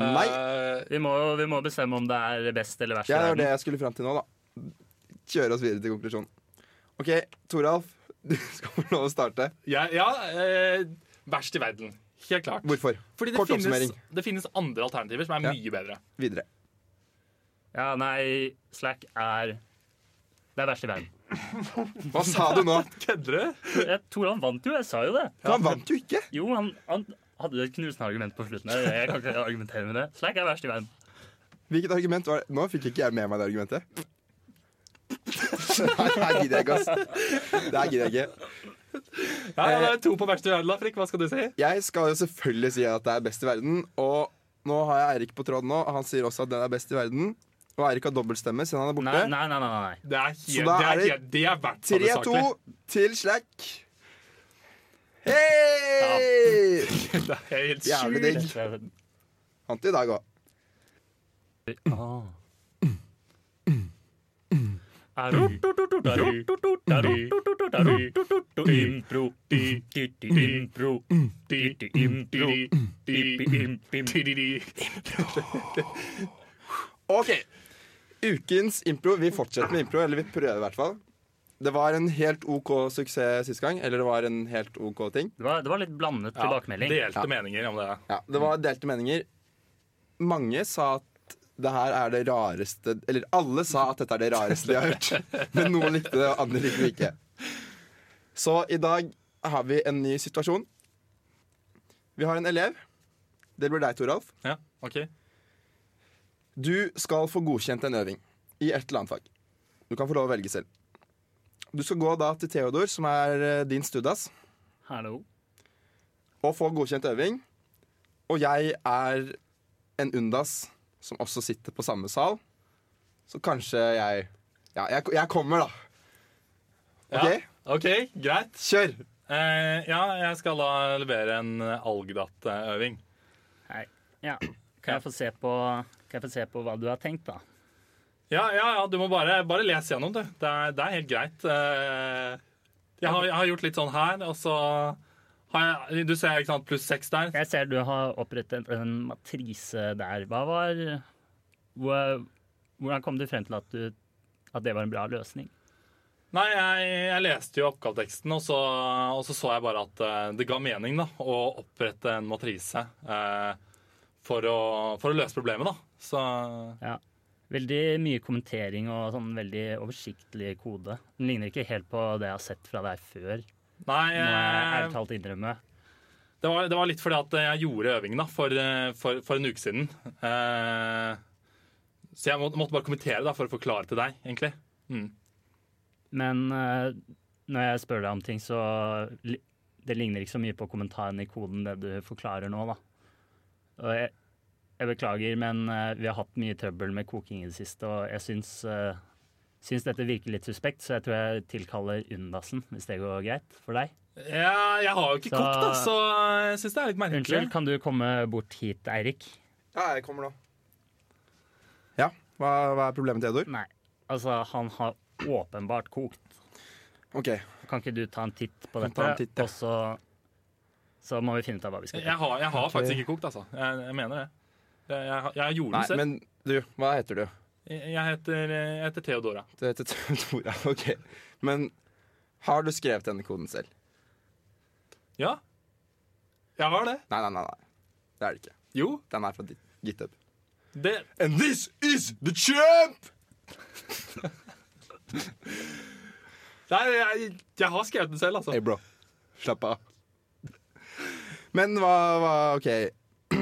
Speaker 1: Nei.
Speaker 2: Eh,
Speaker 3: Vi må, vi må bestemme om det er best eller verst. i
Speaker 1: Ja, det var det
Speaker 3: verden.
Speaker 1: jeg skulle fram til nå, da. Kjøre oss videre til konklusjonen. OK, Toralf, du skal få lov å starte.
Speaker 2: ja, ja eh, verst i verden. Helt klart.
Speaker 1: Hvorfor?
Speaker 2: Fordi det
Speaker 1: Kort
Speaker 2: finnes,
Speaker 1: oppsummering.
Speaker 2: det finnes andre alternativer som er
Speaker 1: Ja.
Speaker 2: mye bedre.
Speaker 1: Videre.
Speaker 3: Ja, nei, Slack er Det er verst i verden.
Speaker 1: Hva sa du nå?
Speaker 2: Kødder du?
Speaker 3: Jeg tror han vant jo, jeg sa jo det.
Speaker 1: Han vant jo ikke!
Speaker 3: Jo, han, han hadde et knusende argument på slutten. her. Jeg kan ikke argumentere med det. Slack er verst i verden.
Speaker 1: Hvilket argument var det? Nå fikk ikke jeg med meg det argumentet. Nei, det her gidder jeg ikke, ass. Det her gidder jeg ikke.
Speaker 2: Ja, ja, det
Speaker 1: Eh,
Speaker 2: er to på verst i verden, da, Frikk. Hva skal du si?
Speaker 1: Jeg skal jo selvfølgelig si at det er best i verden, og nå har jeg Eirik på tråden nå, og han sier også at den er best i verden. Og Eirik har dobbeltstemme siden han er
Speaker 3: Nei,
Speaker 1: borte.
Speaker 3: nei, nei. nei, nei.
Speaker 2: Det er, helt,
Speaker 1: da
Speaker 2: det
Speaker 1: er
Speaker 2: er,
Speaker 1: det
Speaker 2: helt, det er verdt det saklig.
Speaker 1: 3-2 til Slack. Hei!
Speaker 2: Det er helt
Speaker 1: Jævlig
Speaker 2: sjukt.
Speaker 1: digg.
Speaker 3: Verst i verden.
Speaker 1: Vant i dag òg.
Speaker 3: Ah. Impro.
Speaker 2: Mm.
Speaker 3: Impro. Impro.
Speaker 1: OK. Ukens impro. Vi fortsetter med impro, eller vi prøver i hvert fall. Det var en helt OK suksess sist gang. Eller det var en helt OK ting.
Speaker 3: Det var, det var litt blandet
Speaker 2: Ja,
Speaker 3: tilbakemelding.
Speaker 2: Delte meninger om det.
Speaker 1: Ja, Det var delte meninger. Mange sa at det her er det rareste Eller alle sa at dette er det rareste de har hørt. Men noen likte det, og andre likte det ikke. Så i dag har vi en ny situasjon. Vi har en elev. Det blir deg, Toralf.
Speaker 2: Ja, ok.
Speaker 1: Du skal få godkjent en øving i et eller annet fag. Du kan få lov å velge selv. Du skal gå da til Theodor, som er eh, din studas,
Speaker 3: Hallo.
Speaker 1: og få godkjent øving. Og jeg er en undas som også sitter på samme sal. Så kanskje jeg Ja, jeg, jeg kommer, da. OK,
Speaker 2: Ja. OK, greit.
Speaker 1: kjør!
Speaker 2: Eh, ja, jeg skal da levere en eh, algdat-øving.
Speaker 3: Hei. Ja. Kan jeg få se på, kan jeg få se på hva du har tenkt, da?
Speaker 2: Ja, ja, ja, du må bare, bare lese gjennom det. Det er, det er helt greit. Eh, jeg, har, jeg har gjort litt sånn her, og så har jeg Du ser ikke sant, pluss seks der.
Speaker 3: Jeg ser du har opprettet en matrise der. Hva var hvor- Hvordan kom du frem til at, du, at det var en bra løsning?
Speaker 2: Nei, jeg, jeg leste jo oppgaveteksten, og så, og så så jeg bare at eh, det ga mening da, å opprette en matrise eh, for, å, for å løse problemet, da. Så
Speaker 3: Ja. Veldig mye kommentering og sånn veldig oversiktlig kode. Den ligner ikke helt på det jeg har sett fra deg før,
Speaker 2: Nei,
Speaker 3: må jeg
Speaker 2: eh,
Speaker 3: ærlig talt innrømme.
Speaker 2: Det var, det var litt fordi at jeg gjorde øvingen da, for, eh, for, for en uke siden. Eh, så jeg må, måtte bare kommentere da, for å forklare til deg, egentlig. Mm.
Speaker 3: Men eh, når jeg spør deg om ting, så li det ligner ikke så mye på kommentaren i koden det du forklarer nå, da. Og jeg, jeg beklager, men eh, vi har hatt mye trøbbel med koking i det siste, og jeg syns, eh, syns dette virker litt suspekt, så jeg tror jeg tilkaller Undasen, hvis det går greit for deg.
Speaker 2: Ja, jeg har jo ikke
Speaker 3: Så-
Speaker 2: kokt, da, så jeg syns det er litt merkelig.
Speaker 3: Unnskyld, kan du komme bort hit, Eirik?
Speaker 1: Ja, jeg kommer nå. Ja, hva, hva er problemet, Theodor?
Speaker 3: Nei, altså, han har åpenbart kokt.
Speaker 1: OK.
Speaker 3: Kan ikke du ta en titt på
Speaker 1: Kan
Speaker 3: dette,
Speaker 1: ta en titt, ja.
Speaker 3: og så, så må vi finne ut av hva vi skal gjøre.
Speaker 2: Jeg har, jeg har faktisk ikke kokt, altså. Jeg, jeg mener det. Jeg, jeg, jeg gjorde
Speaker 1: Nei,
Speaker 2: det selv.
Speaker 1: men du, hva heter du?
Speaker 2: Jeg, jeg, heter, eh, jeg heter Theodora.
Speaker 1: Det heter Tora. OK. Men har du skrevet denne koden selv?
Speaker 2: Ja, jeg har det.
Speaker 1: Nei, nei, nei. nei. Det er det ikke.
Speaker 2: Jo,
Speaker 1: Den er fra Git- GitHub.
Speaker 2: det
Speaker 1: And this is the champ!
Speaker 2: Nei, jeg, jeg har skrevet den selv, altså.
Speaker 1: Hey, bro. Slapp av. Men hva, hva OK.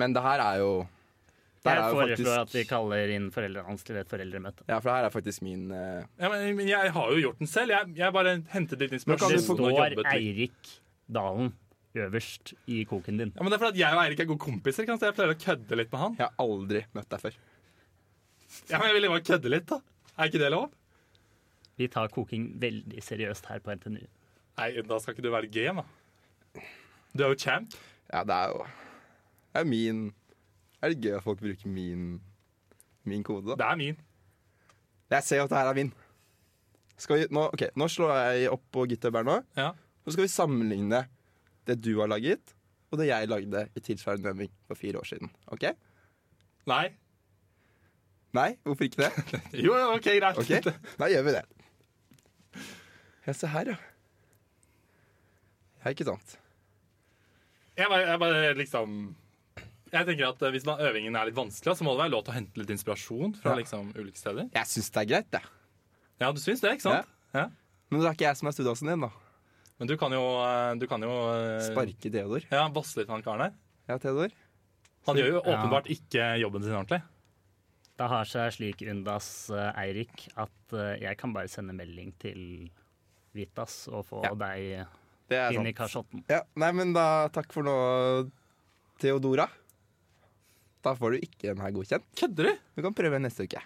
Speaker 1: Men det her er jo Det her er
Speaker 3: Jeg
Speaker 1: jo
Speaker 3: foreslår
Speaker 1: faktisk
Speaker 3: at vi kaller inn foreldrene hans til et foreldremøte.
Speaker 1: Ja, for det her er faktisk min eh,
Speaker 2: Ja, men, men jeg har jo gjort den selv. Jeg, jeg bare hentet litt
Speaker 1: kan
Speaker 2: inspirasjon.
Speaker 1: du
Speaker 3: Det
Speaker 1: få-
Speaker 2: og
Speaker 3: står
Speaker 2: jobbet litt.
Speaker 3: Eirik Dalen øverst i koken din.
Speaker 2: Ja, men det er fordi at Jeg og Eirik er gode kompiser, ikke sant? så jeg pleier å kødde litt med han.
Speaker 1: Jeg har aldri møtt deg før.
Speaker 2: Ja, men Jeg ville bare kødde litt, da. Er ikke det lov?
Speaker 3: Vi tar koking veldig seriøst her på NTNU.
Speaker 2: Nei, da skal ikke du være game, da. Du er jo champ.
Speaker 1: Ja, det er jo Det er min Er det gøy at folk bruker min, min kode, da?
Speaker 2: Det er min.
Speaker 1: Jeg ser jo at det her er min. Skal vi, nå, ok, nå slår jeg opp på GitHub her nå.
Speaker 2: Ja.
Speaker 1: Nå skal vi sammenligne det du har laget, og det jeg lagde i tilsvarende øving for fire år siden. Ok?
Speaker 2: Nei.
Speaker 1: Nei, hvorfor ikke det?
Speaker 2: Jo, jo, OK, greit.
Speaker 1: Ok, Da gjør vi det. Ja, se her, ja. Ja, ikke sant.
Speaker 2: Jeg bare, jeg bare liksom Jeg tenker at eh, Hvis man, øvingen er litt vanskelig, så må det være lov til å hente litt inspirasjon fra
Speaker 1: Ja.
Speaker 2: liksom, ulike steder.
Speaker 1: Jeg syns det er greit, det.
Speaker 2: Ja, du syns det, ikke sant? Ja.
Speaker 1: Men det er ikke jeg som er studieåsen din, da.
Speaker 2: Men du kan jo, eh, du kan jo eh,
Speaker 1: Sparke Theodor.
Speaker 2: Ja, Vasse litt med han karen der.
Speaker 1: Ja, Theodor.
Speaker 2: Han gjør jo
Speaker 3: Ja.
Speaker 2: åpenbart ikke jobben sin ordentlig.
Speaker 3: Det har seg slik undas eh, Eirik at eh, jeg kan bare sende melding til Vitas og få
Speaker 1: Ja.
Speaker 3: deg
Speaker 1: Det er
Speaker 3: inn i
Speaker 1: sant.
Speaker 3: kasjotten.
Speaker 1: Ja, nei, men da takk for nå, Theodora. Da får du ikke den her godkjent.
Speaker 2: Kødder du?
Speaker 1: Du kan prøve neste uke.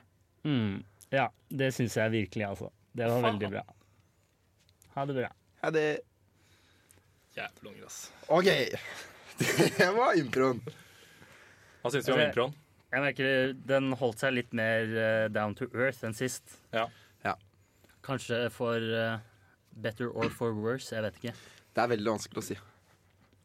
Speaker 3: Mm. Ja, det syns jeg virkelig, altså. Det var
Speaker 2: Faen.
Speaker 3: veldig bra. Ha det bra.
Speaker 1: Ja, det
Speaker 2: Jævla unger, ass.
Speaker 1: OK. Det var improen.
Speaker 2: Hva syns vi om
Speaker 3: Altså,
Speaker 2: improen?
Speaker 3: Jeg merker den holdt seg litt mer eh, down to earth enn sist.
Speaker 2: Ja.
Speaker 1: Ja.
Speaker 3: Kanskje for eh, better or for worse, jeg vet ikke.
Speaker 1: Det er veldig vanskelig å si.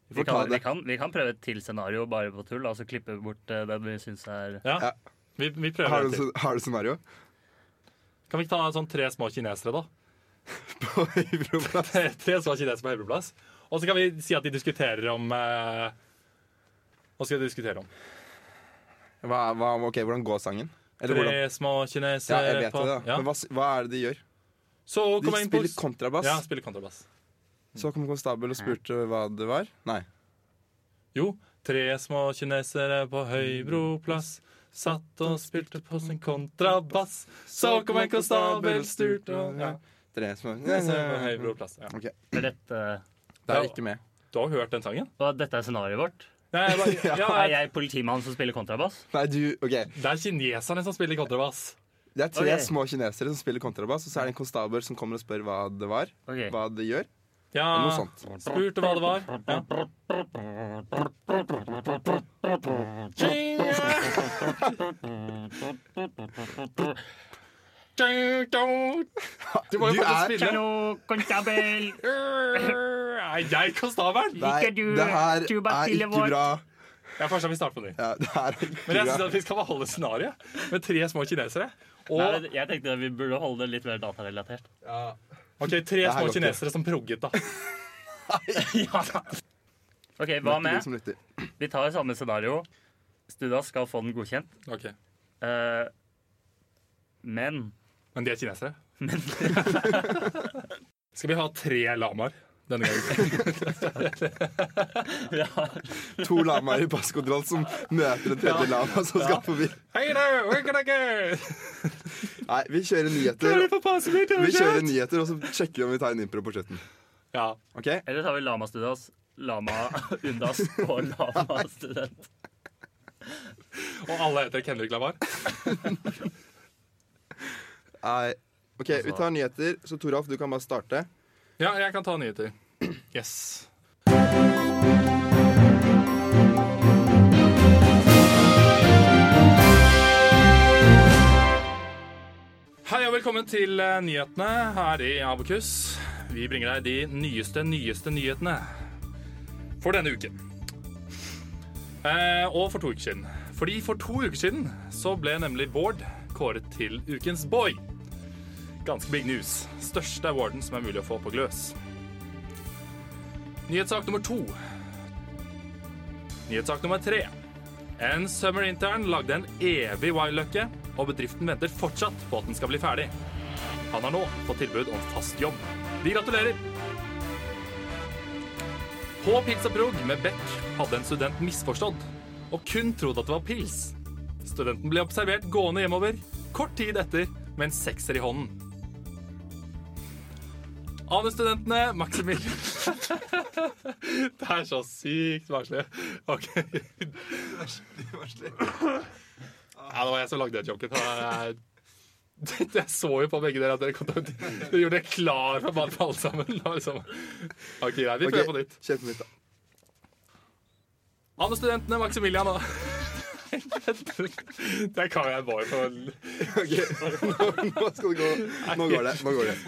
Speaker 3: Vi
Speaker 1: Vi får ta
Speaker 3: kan, vi
Speaker 1: det.
Speaker 3: kan, vi kan prøve et til scenario bare på tull, og så klippe bort eh, den vi syns er
Speaker 2: Ja.
Speaker 1: Ja.
Speaker 2: Vi, vi prøver
Speaker 1: Har
Speaker 2: en
Speaker 1: du,
Speaker 2: til.
Speaker 1: sce- har du scenario?
Speaker 2: Kan vi ikke ta sånn tre små kinesere, da?
Speaker 1: På improplass?
Speaker 2: tre små kinesere på Høybroplass. Og så kan vi si at de diskuterer om eh, Hva skal de diskutere om?
Speaker 1: Hva, hva, ok, hvordan går sangen? Eller hvordan?
Speaker 2: Tre små
Speaker 1: Ja,
Speaker 2: kinesere
Speaker 1: jeg vet
Speaker 2: eh, på
Speaker 1: det, da.
Speaker 2: Ja.
Speaker 1: Men hva, s- hva er det de gjør?
Speaker 2: Så
Speaker 1: De
Speaker 2: kom jeg inn på
Speaker 1: spiller kontrabass.
Speaker 2: Ja, spiller kontrabass.
Speaker 1: Så kom konstabel og spurte hva det var. Nei.
Speaker 2: Jo, tre små kinesere på Høybroplass satt og spilte på sin kontrabass. Så kom en konstabel sturt og ja.
Speaker 1: Tre små
Speaker 2: Kinesere på Høybroplass. Ja.
Speaker 1: Ok,
Speaker 3: for dette.
Speaker 1: Det er ikke med.
Speaker 2: Du har jo hørt den sangen?
Speaker 3: Og dette er scenarioet vårt.
Speaker 2: Nei, jeg bare, ja,
Speaker 3: Er
Speaker 2: jeg,
Speaker 3: jeg politimannen som spiller kontrabass?
Speaker 1: Nei, du, ok.
Speaker 2: det er kineserne som spiller kontrabass.
Speaker 1: Det er tre
Speaker 3: Ok.
Speaker 1: små kinesere som spiller kontrabass, og så er det en konstabel som kommer og spør hva det var.
Speaker 3: Ok.
Speaker 1: Hva det gjør.
Speaker 2: Ja,
Speaker 1: Noe sånt.
Speaker 2: spurte hva det var. Ja. Du må jo
Speaker 1: Du
Speaker 2: faktisk
Speaker 1: er-
Speaker 2: spille.
Speaker 3: Hallo, konstabel!
Speaker 2: Er jeg konstabelen?
Speaker 1: Nei,
Speaker 3: Liker du
Speaker 1: det her er
Speaker 3: tubatille
Speaker 1: ikke
Speaker 3: vår?
Speaker 1: bra.
Speaker 2: Jeg foreslår vi starter på ny.
Speaker 1: Ja, det her er
Speaker 2: Men
Speaker 1: ikke
Speaker 2: jeg synes
Speaker 1: bra.
Speaker 2: at vi skal beholde scenarioet med tre små kinesere. Og
Speaker 3: Nei, det- jeg tenkte vi burde holde det litt mer datarelatert.
Speaker 2: ok, tre
Speaker 1: her
Speaker 2: små
Speaker 1: går ikke.
Speaker 2: kinesere som progget, da.
Speaker 3: Ok, Hva
Speaker 1: Det er ikke du
Speaker 2: liksom.
Speaker 3: med?
Speaker 1: som lytter.
Speaker 3: Vi tar samme scenario. Studas skal få den godkjent.
Speaker 2: Ok,
Speaker 3: Eh, men
Speaker 2: Men de er kinesere. Skal vi ha tre lamaer denne gangen?
Speaker 1: To lamaer i passkontroll som møter en tredje lama som skal forbi.
Speaker 2: Hei there, where can I go?
Speaker 1: Nei, vi kjører nyheter.
Speaker 2: Kan du få passe meg til
Speaker 1: Vi kjører
Speaker 2: kjøtt?
Speaker 1: nyheter, og så sjekker vi om vi tar en impro på slutten.
Speaker 2: Ja.
Speaker 1: Ok?
Speaker 3: Eller tar vi Lama-Studas, Lama-Undas og Lama-Student.
Speaker 2: Og alle heter Kendrick Lamar.
Speaker 1: Nei. Ok, vi tar nyheter. Så Toralf, du kan bare starte.
Speaker 2: Ja, jeg kan ta nyheter. Yes. Hei og velkommen til eh, nyhetene her i Abokus. Vi bringer deg de nyeste, nyeste nyhetene for denne uken. Eh, og for to uker siden. Fordi for to uker siden så ble nemlig Bård kåret til ukens boy. Ganske big news. Største awarden som er mulig å få på gløs. Nyhetssak nummer to. Nyhetssak nummer tre. En summer intern lagde en evig Y-løkke, og bedriften venter fortsatt på at den skal bli ferdig. Han har nå fått tilbud om fast jobb. Vi gratulerer! På Pils og Prog med Beck hadde en student misforstått, og kun trodd at det var pils. Studenten ble observert gående hjemover kort tid etter med en sekser i hånden. ANU-studentene Maximilian Det er så sykt varselig. OK. Ja, det var jeg som lagde den joken. Jeg, jeg så jo på begge dere at dere, kom til, å- dere gjorde det klar for bare for alle sammen. Det var Liksom. OK, nei, vi prøver på nytt.
Speaker 1: Kjør på nytt, da.
Speaker 2: ANU-studentene Maximilian og Der kan jeg bare få
Speaker 1: Ok, nå, nå skal det gå. Nå går det. Nå går det.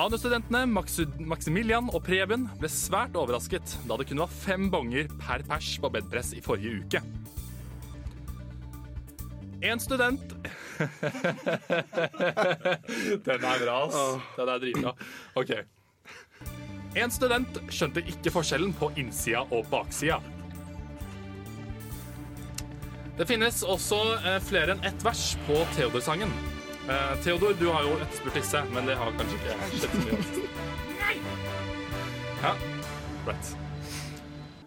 Speaker 2: ANU-studentene Maxu- Maximilian og Preben ble svært overrasket da det kun var fem bonger per pers på bedpress i forrige uke. En student Den er bra, ass. Den er dritbra. OK. En student skjønte ikke forskjellen på innsida og baksida. Det finnes også eh, flere enn ett vers på Theodor-sangen. Eh, Theodor, du har jo etterspurt disse, men det har kanskje ikke skjedd så mye. Nei! Ja, right.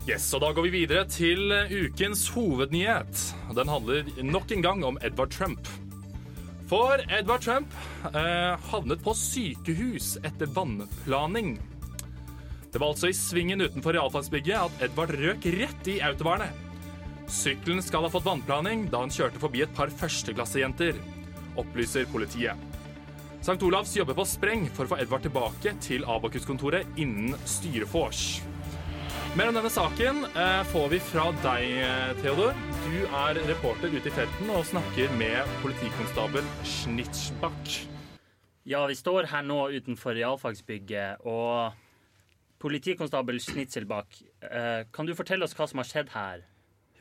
Speaker 2: Yes, og Da går vi videre til eh, ukens hovednyhet. Den handler nok en gang om Edvard Trump. For Edvard Trump eh, havnet på sykehus etter vannplaning. Det var altså i svingen utenfor realfagsbygget at Edvard røk rett i autovernet. Sykkelen skal ha fått vannplaning da han kjørte forbi et par førsteklassejenter, opplyser politiet. St. Olavs jobber på spreng for å få Edvard tilbake til Abakus-kontoret innen styrefors. Mer om denne saken eh, får vi fra deg, eh, Theodor. Du er reporter ute i felten og snakker med politikonstabel Schnitschbach.
Speaker 3: Ja, vi står her nå utenfor realfagsbygget, og politikonstabel Snitzelbakk, eh, kan du fortelle oss hva som har skjedd her?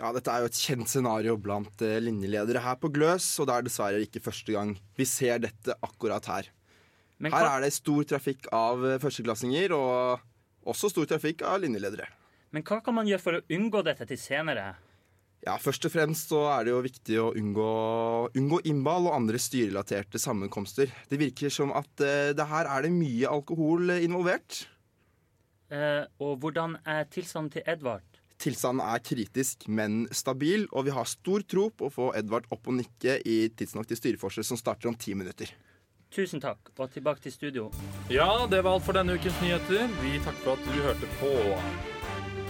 Speaker 1: Ja, Dette er jo et kjent scenario blant eh, linjeledere her på Gløs, og det er dessverre ikke første gang vi ser dette akkurat her.
Speaker 3: Men
Speaker 1: Her
Speaker 3: hva,
Speaker 1: er det stor trafikk av eh, førsteklassinger, og også stor trafikk av linjeledere.
Speaker 3: men hva kan man gjøre for å unngå dette til senere?
Speaker 1: Ja, Først og fremst så er det jo viktig å unngå, unngå innball og andre styrelaterte sammenkomster. Det virker som at eh, det her er det mye alkohol eh, involvert.
Speaker 3: Eh, og hvordan er tilstanden til Edvard?
Speaker 1: Tilstanden er kritisk, men stabil, og vi har stor tro på å få Edvard opp og nikke i tidsnok til styreforset, som starter om ti minutter.
Speaker 3: Tusen takk, og tilbake til studio.
Speaker 2: Ja, det var alt for denne ukens nyheter. Vi takker for at du hørte på.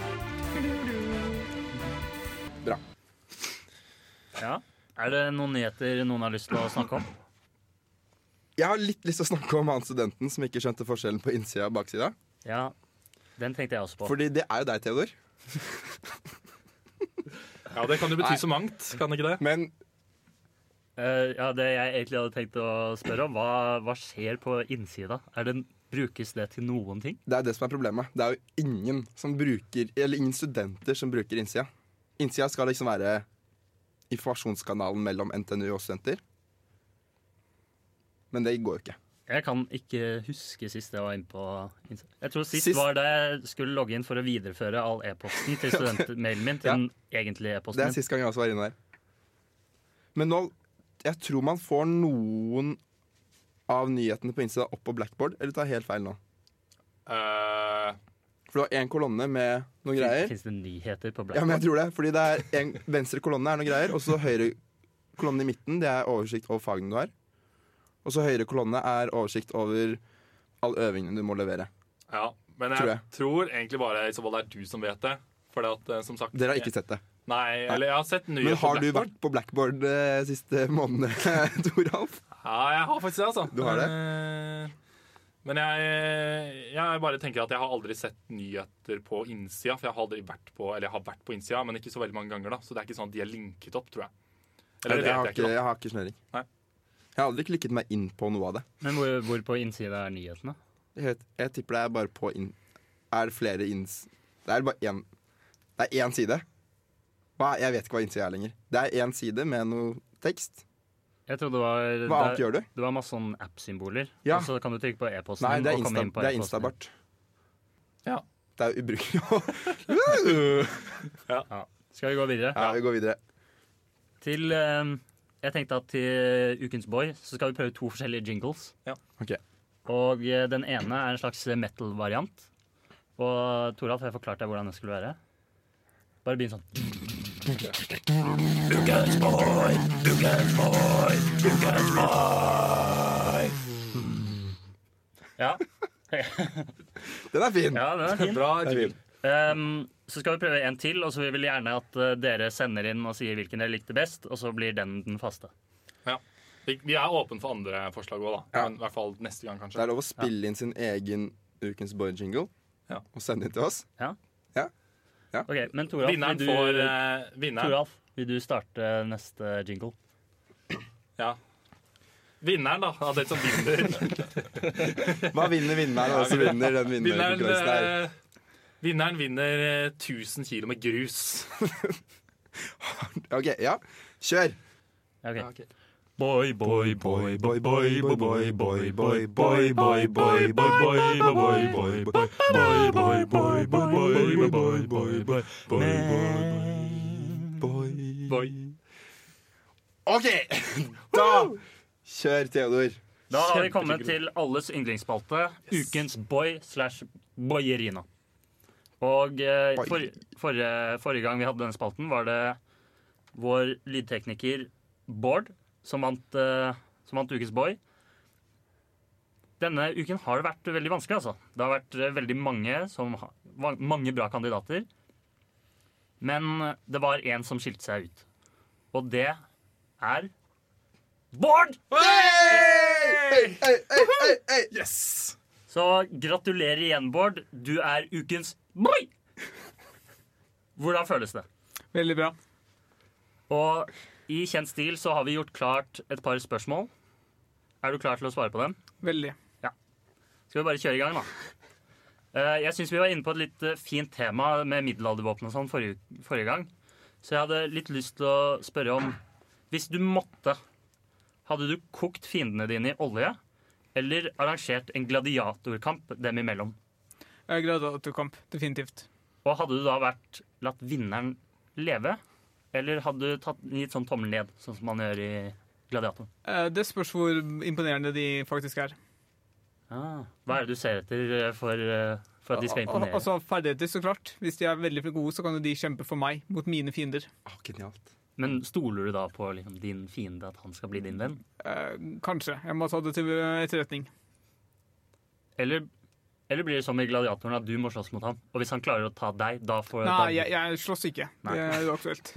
Speaker 1: Bra.
Speaker 3: Ja. Er det noen nyheter noen har lyst til å snakke om?
Speaker 1: Jeg har litt lyst til å snakke om han studenten som ikke skjønte forskjellen på innsida og baksida.
Speaker 3: Ja, den tenkte jeg også på.
Speaker 1: Fordi det er jo deg, Theodor.
Speaker 2: Ja, Det kan jo bety
Speaker 1: Nei.
Speaker 2: så mangt, kan det ikke det?
Speaker 1: Men
Speaker 3: Eh, ja, Det jeg egentlig hadde tenkt å spørre om, hva, hva skjer på innsida? Er det, brukes det til noen ting?
Speaker 1: det er det som er problemet. Det er jo ingen som bruker Eller ingen studenter som bruker innsida. Innsida skal liksom være informasjonskanalen mellom NTNU og studenter. Men det går jo ikke.
Speaker 3: Jeg kan ikke huske sist jeg var inne på innsida. Jeg tror sist,
Speaker 1: Sist-
Speaker 3: var da jeg skulle logge inn for å videreføre all e-posten til studentmailen min. til
Speaker 1: Ja.
Speaker 3: den egentlige
Speaker 1: Det
Speaker 3: e-posten
Speaker 1: er
Speaker 3: min.
Speaker 1: sist gang jeg også var inne der. Men nå Jeg tror man får noen av nyhetene på innsida opp på blackboard, eller tar jeg helt feil nå.
Speaker 2: Eh,
Speaker 1: For det var én kolonne med noen greier.
Speaker 3: Fins det nyheter på
Speaker 1: Ja, men jeg
Speaker 3: Blackboard?
Speaker 1: tror det. Fordi det er en venstre kolonne er noe greier, og så høyre kolonne i midten, det er oversikt over fagene du har. Og så høyre kolonne er oversikt over all øvingen du må levere.
Speaker 2: ja, Men jeg
Speaker 1: Tror
Speaker 2: tror,
Speaker 1: jeg.
Speaker 2: egentlig bare i så fall det er du som vet det. For det at, eh, som sagt
Speaker 1: Dere har ikke sett det.
Speaker 2: Nei, eller jeg har sett nye
Speaker 1: Men
Speaker 2: på
Speaker 1: har du
Speaker 2: Blackboard.
Speaker 1: vært på blackboard eh, siste månedene, Toralf?
Speaker 2: Ja, jeg har faktisk det, altså.
Speaker 1: Du har det?
Speaker 2: Eh, Men jeg, jeg bare tenker at jeg har aldri sett nyheter på innsida. For jeg har aldri vært på Eller jeg har vært på innsida, men ikke så veldig mange ganger. da Så det er ikke sånn at de er linket opp, tror jeg. Eller det
Speaker 1: Jeg har
Speaker 2: vet jeg
Speaker 1: ikke,
Speaker 2: ikke. da.
Speaker 1: jeg har ikke snøring.
Speaker 2: Nei.
Speaker 1: Jeg har aldri klikket meg inn på noe av det.
Speaker 3: Men hvor, hvor på innsida er nyhetene?
Speaker 1: Jeg, vet, jeg tipper det er bare på inn... Er det flere inns... Det er bare én Det er én side. Hva, jeg vet ikke hva innsida er lenger. Det er én side med noe tekst.
Speaker 3: Jeg trodde det var
Speaker 1: Hva annet gjør du?
Speaker 3: Det var masse sånn app-symboler.
Speaker 1: Ja.
Speaker 3: Og så kan du trykke på e-posten.
Speaker 1: Nei,
Speaker 3: din
Speaker 1: det er,
Speaker 3: og komme
Speaker 1: insta,
Speaker 3: inn på
Speaker 1: det er
Speaker 3: e-posten.
Speaker 1: instabart.
Speaker 2: Ja.
Speaker 1: Det er jo ubrukelig.
Speaker 3: Skal vi gå videre?
Speaker 1: ja, vi går videre.
Speaker 3: Til eh, Jeg tenkte at til Ukens Boy så skal vi prøve to forskjellige jingles.
Speaker 1: Ok.
Speaker 3: Og eh, den ene er en slags metal-variant. Og Toralf, jeg forklarte deg hvordan det skulle være. Bare begynn sånn. Ja.
Speaker 1: Den er fin!
Speaker 3: ja, den er fin.
Speaker 2: Bra
Speaker 1: Den er
Speaker 2: jingle.
Speaker 1: fin.
Speaker 3: Ehm, så skal vi prøve en til, og så vil vi gjerne at eh, dere sender inn og sier hvilken dere likte best, og så blir den den faste.
Speaker 2: Ja. Vi, vi er åpne for andre forslag òg, da.
Speaker 1: Ja.
Speaker 2: Men I hvert fall neste gang,
Speaker 1: Det
Speaker 2: kanskje.
Speaker 1: er lov å spille inn sin egen Ukens boy-jingle
Speaker 2: Ja.
Speaker 1: og sende den til oss.
Speaker 3: Ja.
Speaker 1: Ja. Ja.
Speaker 3: Ok, men Toralf, vil
Speaker 2: Vinneren
Speaker 3: du,
Speaker 2: får eh, vinneren.
Speaker 3: Toralf, vil du starte neste jingle?
Speaker 2: Ja. Vinneren, da, av den som vinner.
Speaker 1: Hva vinner vinneren, og så vinner den
Speaker 2: Vinneren,
Speaker 1: vinnerkonkurransen her?
Speaker 2: eh, vinneren vinner eh, 1000 kilo med grus.
Speaker 1: Ok, ja. Kjør!
Speaker 3: Ok.
Speaker 4: Boy, boy, boy, boy, boy, boy, boy, boy, boy, boy, boy, boy, boy, boy, boy, boy, boy, boy, boy, boy, boy, boy, boy, boy, boy, boy, boy, boy, boy.
Speaker 2: Boy.
Speaker 1: OK! Da Kjør, Theodor.
Speaker 3: Da har vi kommet
Speaker 2: Kjempedigg.
Speaker 3: til alles yndlingsspalte, ukens boy slash boyerina. Og eh,
Speaker 1: Boy.
Speaker 3: for, forrige, forrige gang vi hadde denne spalten, var det vår lydtekniker Bård som vant, eh, som vant ukens boy. Denne uken har det vært veldig vanskelig, altså. Det har vært eh, veldig mange, som, ha- va- mange bra kandidater. Men det var én som skilte seg ut. Og det er Bård!
Speaker 1: Hey! Hey, hey, hey, hey.
Speaker 2: Yes!
Speaker 3: Så gratulerer igjen, Bård. Du er ukens boy! Hvordan føles det?
Speaker 5: Veldig bra.
Speaker 3: Og i kjent stil så har vi gjort klart et par spørsmål. Er du klar til å svare på dem?
Speaker 5: Veldig.
Speaker 3: Skal vi bare kjøre i gang, da? Eh, Jeg syns vi var inne på et litt eh, fint tema med middelaldervåpen og sånn forrige, forrige gang. Så jeg hadde litt lyst til å spørre om Hvis du måtte, hadde du kokt fiendene dine i olje? Eller arrangert en gladiatorkamp dem imellom?
Speaker 5: Eh, Gladiatorkamp, definitivt.
Speaker 3: Og hadde du da vært latt vinneren leve, eller hadde du tatt gitt sånn tommel ned, sånn som man gjør i Gladiator?
Speaker 5: Eh, Det spørs hvor imponerende de faktisk er.
Speaker 3: Hva er det du ser etter eh, for, eh, for at de skal
Speaker 5: Al- al-
Speaker 3: imponere?
Speaker 5: Altså Ferdigheter, så klart. Hvis de er veldig gode, så kan jo de kjempe for meg mot mine fiender.
Speaker 1: Å, genialt.
Speaker 3: Men stoler du da på liksom, din fiende, at han skal bli din venn?
Speaker 5: Eh, kanskje. Jeg må ta det til eh, etterretning.
Speaker 3: Eller, eller blir det som i Gladiatoren, at du må slåss mot ham, og hvis han klarer å ta deg, da får da,
Speaker 5: Nei, jeg, jeg slåss ikke.
Speaker 3: Nei.
Speaker 5: Det er uaktuelt.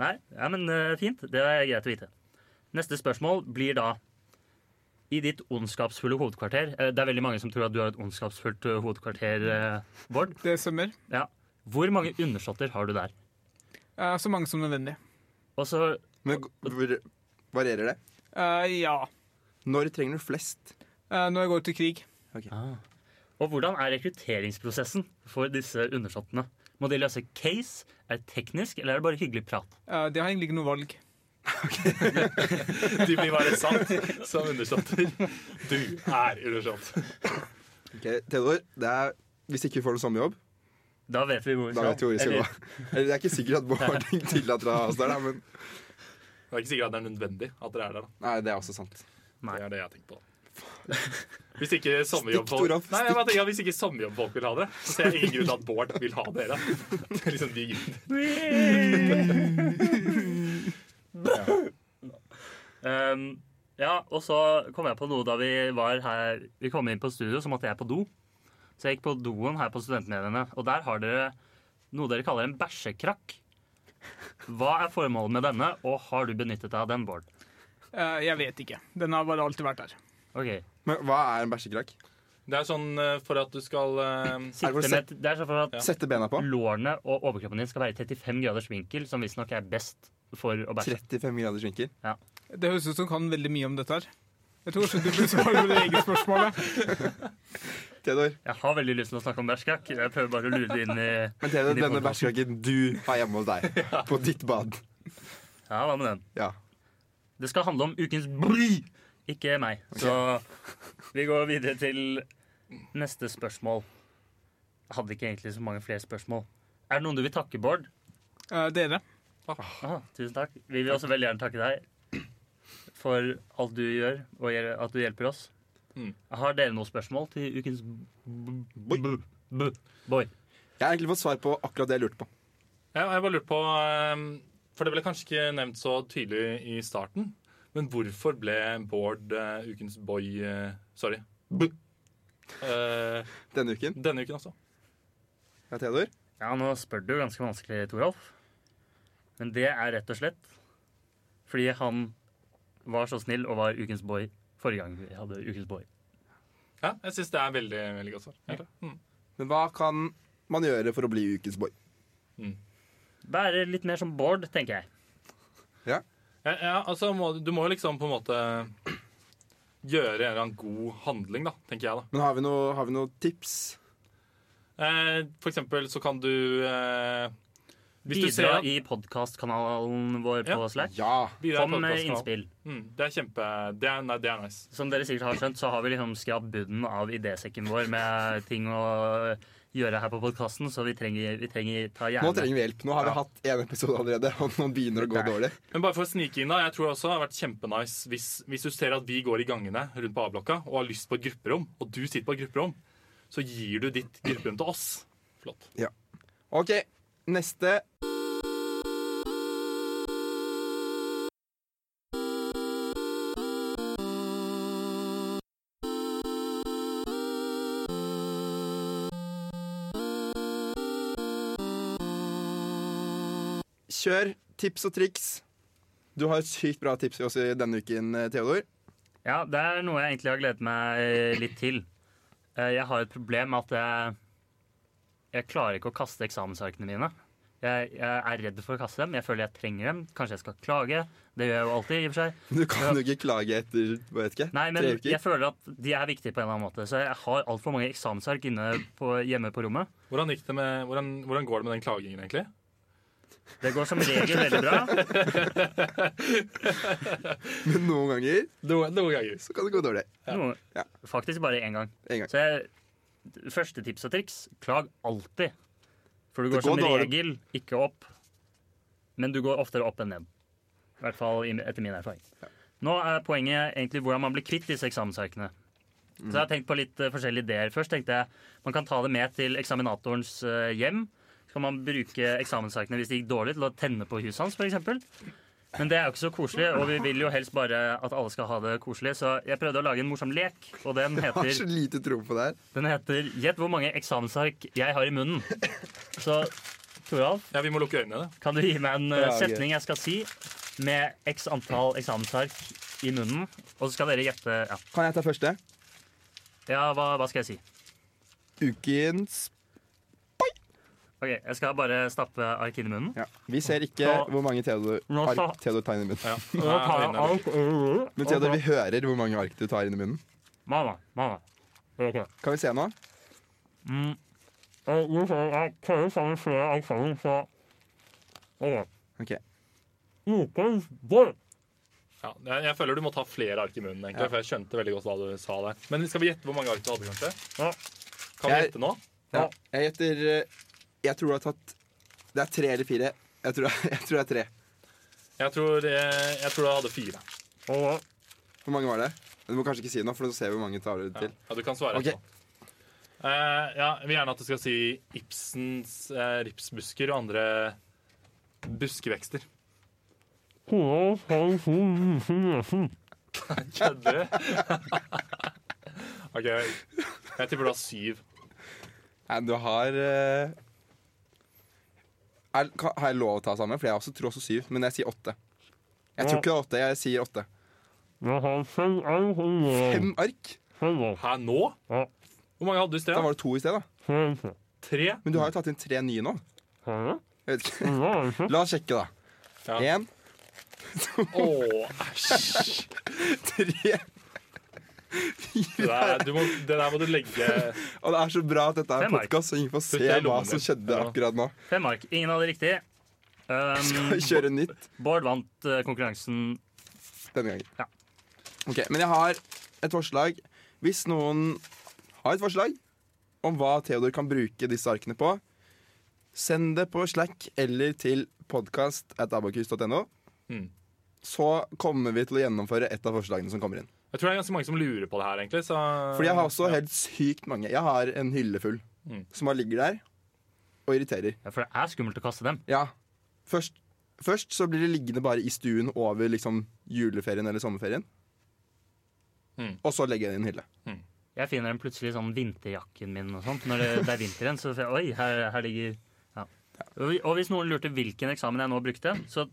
Speaker 3: Nei, ja, men eh, fint. Det er greit å vite. Neste spørsmål blir da i ditt ondskapsfulle hovedkvarter eh, Det er veldig mange som tror at du har et ondskapsfullt eh, hovedkvarter, eh, Bård.
Speaker 5: Det stemmer.
Speaker 3: Ja. Hvor mange undersåtter har du der?
Speaker 5: Eh, så mange som nødvendig.
Speaker 3: Og så
Speaker 1: Men g- hvor varierer det?
Speaker 5: Eh, ja.
Speaker 1: Når trenger du flest?
Speaker 5: Eh, når jeg går til krig.
Speaker 3: Og hvordan er rekrutteringsprosessen for disse undersåttene? Må de løse case? Er det teknisk, eller er det bare hyggelig prat?
Speaker 5: Eh, de har egentlig ikke noe valg.
Speaker 2: De blir bare satt som undersåtter. Du er undersått.
Speaker 1: Ok, Theodor, det er hvis ikke vi får noen sommerjobb,
Speaker 3: Da vet vi hvor vi
Speaker 1: da vet vi hvor vi skal
Speaker 3: Eller-
Speaker 1: gå. Eller det er ikke sikkert at Bård tillater oss der, da, men
Speaker 2: Det er ikke sikkert at det er nødvendig at dere er der. da.
Speaker 1: Nei, det er også sant.
Speaker 3: Nei.
Speaker 2: Det er det jeg tenker på. Hvis ikke
Speaker 1: Stikk,
Speaker 2: sommerjobbfolk
Speaker 1: Toralf,
Speaker 2: Nei, jeg bare tenker at hvis ikke sommerjobbfolk vil ha det, så ser jeg ingen grunn til at Bård vil ha dere. Det er liksom de
Speaker 3: Ehm, ja, og så kom jeg på noe da vi var her Vi kom inn på studio, så måtte jeg på do. Så jeg gikk på doen her på studentmediene, og der har dere noe dere kaller en bæsjekrakk. Hva er formålet med denne, og har du benyttet deg av den, Bård?
Speaker 5: Eh, jeg vet ikke. Den har bare alltid vært der.
Speaker 3: Ok,
Speaker 1: Men hva er en bæsjekrakk?
Speaker 2: Det er sånn eh, for at du skal eh,
Speaker 1: Er det for å
Speaker 3: Sikte med, det er sånn for at
Speaker 1: Sette bena på?
Speaker 3: lårene og overkroppen din skal være i 35 graders vinkel, som visstnok er best for å bæsje.
Speaker 1: 35 graders vinkel.
Speaker 5: Det høres ut som du kan veldig mye om dette her. Jeg tror kanskje du burde svare på det eget spørsmålet.
Speaker 1: Theodor,
Speaker 3: Jeg har veldig lyst til å snakke om bæsjkrakk. Jeg prøver bare å lure det inn i
Speaker 1: men Theodor,
Speaker 3: Inn i
Speaker 1: denne
Speaker 3: podcasten.
Speaker 1: bæsjekrakken du har hjemme hos deg, på ditt bad.
Speaker 3: Ja, hva med den?
Speaker 1: Ja.
Speaker 3: Det skal handle om ukens bry, ikke meg. Så vi går videre til neste spørsmål. Jeg hadde ikke egentlig så mange flere spørsmål. Er det noen du vil takke, Bård?
Speaker 5: Eh, dere.
Speaker 3: Ah, tusen takk. Vi vil også veldig gjerne takke deg for alt du gjør, og gjør- at du hjelper oss.
Speaker 2: Mm.
Speaker 3: Har dere noen spørsmål til ukens b- b- b- boy?
Speaker 1: Jeg har egentlig fått svar på akkurat det jeg lurte på.
Speaker 2: Ja, jeg bare lurte på eh, For det ble kanskje ikke nevnt så tydelig i starten. Men hvorfor ble Bård eh, ukens boy eh, Sorry. B eh,
Speaker 1: Denne uken.
Speaker 2: denne uken også.
Speaker 1: Ja, Theodor?
Speaker 3: Ja, nå spør du ganske vanskelig, Toralf. Men det er rett og slett fordi han var så snill og var ukens boy forrige gang vi hadde ukens boy.
Speaker 2: Ja, jeg syns det er veldig veldig godt svar. egentlig. Mm.
Speaker 1: Men hva kan man gjøre for å bli ukens boy.
Speaker 3: Være litt mer som Bård, tenker jeg.
Speaker 2: Ja, ja, altså, må, du må jo liksom på en måte gjøre en eller annen god handling, da, tenker jeg. da.
Speaker 1: Men har vi noe, har vi noe tips?
Speaker 2: Eh, for eksempel så kan du eh, Hvis du ser
Speaker 3: Bidra
Speaker 2: at-
Speaker 3: i podkastkanalen vår på
Speaker 2: Ja.
Speaker 3: Slack.
Speaker 1: Ja.
Speaker 2: Bidra i
Speaker 3: Kom med
Speaker 2: podcasten.
Speaker 3: innspill.
Speaker 2: Mm, det er kjempe det er, Nei, det er nice.
Speaker 3: Som dere sikkert har skjønt, så har vi liksom skrapt bunnen av idésekken vår med ting å gjøre her på podkasten, så vi trenger, vi trenger ta
Speaker 1: Nå
Speaker 3: gjerne
Speaker 1: trenger vi hjelp. Nå har vi hatt én episode allerede, og nå begynner det å gå
Speaker 3: Nei.
Speaker 1: dårlig.
Speaker 2: Men bare for å snike inn da, jeg tror også det har vært kjempenice hvis, hvis du ser at vi går i gangene rundt på A-blokka og har lyst på et grupperom, og du sitter på et grupperom, så gir du ditt grupperom til oss. Flott.
Speaker 1: OK, neste. Kjør tips og triks. Du har sykt bra tips også i denne uken, eh, Theodor.
Speaker 3: Ja, det er noe jeg egentlig har gledet meg eh, litt til. Eh, Jeg har et problem med at jeg, jeg klarer ikke å kaste eksamensarkene mine. Jeg, jeg er redd for å kaste dem. Jeg føler jeg trenger dem. Kanskje jeg skal klage. Det gjør jeg jo alltid, i og for seg.
Speaker 1: Du kan jo ikke klage etter jeg vet ikke,
Speaker 3: Nei, men
Speaker 1: tre uker.
Speaker 3: jeg føler at de er viktige på en eller annen måte. Så jeg har altfor mange eksamensark inne på, hjemme på rommet.
Speaker 2: Hvordan, gikk det med, hvordan, hvordan går det med den klagingen, egentlig?
Speaker 3: Det går som regel veldig bra.
Speaker 1: Men noen ganger
Speaker 2: Noen, noen ganger.
Speaker 1: så kan det gå dårlig.
Speaker 3: Noe,
Speaker 1: Ja.
Speaker 3: faktisk bare én gang.
Speaker 1: En gang.
Speaker 3: Så jeg, første tips og triks klag alltid. For du
Speaker 1: Det
Speaker 3: går,
Speaker 1: går
Speaker 3: som
Speaker 1: dårlig.
Speaker 3: regel ikke opp, men du går oftere opp enn ned. I hvert fall i- etter min erfaring. Nå er poenget egentlig hvordan man blir kvitt disse eksamensarkene. Så jeg har tenkt på litt eh, forskjellige ideer. Først tenkte jeg man kan ta det med til eksaminatorens eh, hjem. Så kan man bruke eksamensarkene hvis det gikk dårlig, til å tenne på huset hans f.eks. Men det er jo ikke så koselig, og vi vil jo helst bare at alle skal ha det koselig. Så jeg prøvde å lage en morsom lek, og den
Speaker 1: Jeg har så
Speaker 3: heter,
Speaker 1: lite tro på det her.
Speaker 3: den heter Gjett hvor mange eksamensark jeg har i munnen. Så Toralf,
Speaker 2: Ja, vi må lukke øynene. da.
Speaker 3: kan du gi meg en eh,
Speaker 1: Ja, ok.
Speaker 3: setning jeg skal si med x antall eksamensark i munnen? Og så skal dere gjette Ja,
Speaker 1: Kan jeg ta første?
Speaker 3: ja hva, hva skal jeg si?
Speaker 1: Ukens
Speaker 3: Ok, Jeg skal bare stappe ark inn i munnen.
Speaker 1: ja. Vi ser ikke
Speaker 3: Nå-
Speaker 1: hvor mange Theodor,
Speaker 3: Nå sa-
Speaker 1: ark Theodor tar inn i munnen.
Speaker 2: Ja.
Speaker 3: Nå tar jeg
Speaker 2: Øynene.
Speaker 3: alt
Speaker 1: Men Theodor, vi hører hvor mange ark du tar inn i munnen.
Speaker 3: Mamma, mamma. Ok.
Speaker 1: Kan vi se nå?
Speaker 3: Mm. Eh, jo, så jeg prøver sammen flere eksamen, så Ok.
Speaker 1: Ok.
Speaker 3: Ukens boy.
Speaker 2: Ja, jeg, jeg føler du må ta flere ark i munnen, egentlig, for jeg skjønte veldig godt hva du sa der. Men skal vi gjette hvor mange ark du hadde, kanskje?
Speaker 3: Ja.
Speaker 2: Kan vi
Speaker 1: Jeg-
Speaker 2: gjette nå?
Speaker 1: Ja. Jeg gjetter eh, Jeg tror du har tatt Det er tre eller fire. Jeg tror, jeg tror det er tre.
Speaker 2: Jeg tror, jeg, jeg tror du hadde fire.
Speaker 3: Ok.
Speaker 1: Hvor mange var det? Du må kanskje ikke si noe, for så ser vi hvor mange tar du
Speaker 2: Ja,
Speaker 1: til.
Speaker 2: ja du kan svare
Speaker 1: Ok.
Speaker 2: etterpå. Eh, ja, jeg vil gjerne at du skal si Ibsens eh, ripsbusker og andre buskevekster.
Speaker 3: Fire, fem, sju, vise vesen.
Speaker 2: Kødder du? OK. Jeg tipper du har syv.
Speaker 1: Nei, du har eh, er, kan, Har jeg lov å ta sammen? For jeg også tror også syv, men jeg sier åtte. Jeg tror ikke det er åtte. Jeg sier åtte.
Speaker 3: Jeg har fem ark i munnen.
Speaker 1: Fem ark?
Speaker 3: Fem ark.
Speaker 2: Her nå?
Speaker 3: Ja.
Speaker 2: Hvor mange hadde du i
Speaker 1: Da
Speaker 2: sted? da?
Speaker 1: var det to i sted, da.
Speaker 3: Fem ark.
Speaker 2: Tre?
Speaker 1: Men du har jo tatt inn tre nye nå.
Speaker 3: Har jeg?
Speaker 1: Jeg vet ikke.
Speaker 3: Ingen anelse.
Speaker 1: La oss sjekke, da.
Speaker 2: Ja.
Speaker 1: Én,
Speaker 2: Å, æsj!
Speaker 1: tre
Speaker 2: Det, der- du må- det der må du legge
Speaker 1: Og det er så bra at dette er
Speaker 3: Fem
Speaker 1: en
Speaker 3: mark.
Speaker 1: podkast, så ingen får
Speaker 2: Putt
Speaker 1: se
Speaker 2: det i
Speaker 1: hva
Speaker 2: lommen
Speaker 1: som
Speaker 2: din.
Speaker 1: skjedde
Speaker 2: Ja.
Speaker 1: akkurat nå.
Speaker 3: Fem ark. Ingen hadde riktig. Um,
Speaker 1: Kjøre nytt
Speaker 3: Bård vant eh, konkurransen.
Speaker 1: denne gangen.
Speaker 3: Ja.
Speaker 1: Ok, Men jeg har et forslag. Hvis noen har et forslag om hva Theodor kan bruke disse arkene på, send det på Slack eller til podkast at abakus.no.
Speaker 2: Mm.
Speaker 1: Så kommer vi til å gjennomføre et av forslagene som kommer inn.
Speaker 2: Jeg tror det er ganske mange som lurer på det her, egentlig. Så,
Speaker 1: Fordi jeg har også helt sykt mange. Jeg har en hylle full
Speaker 2: Mm.
Speaker 1: som bare ligger der og irriterer.
Speaker 3: Ja, for det er skummelt å kaste dem.
Speaker 1: Ja. Først, først så blir det liggende bare i stuen over liksom juleferien eller sommerferien.
Speaker 2: Mm.
Speaker 1: Og så legger jeg det i en hylle.
Speaker 3: Jeg finner den plutselig i sånn vinterjakken min og sånt. Når det, det er vinteren, så får jeg, Oi, her, her ligger ja. Og og hvis noen lurte hvilken eksamen jeg nå brukte, så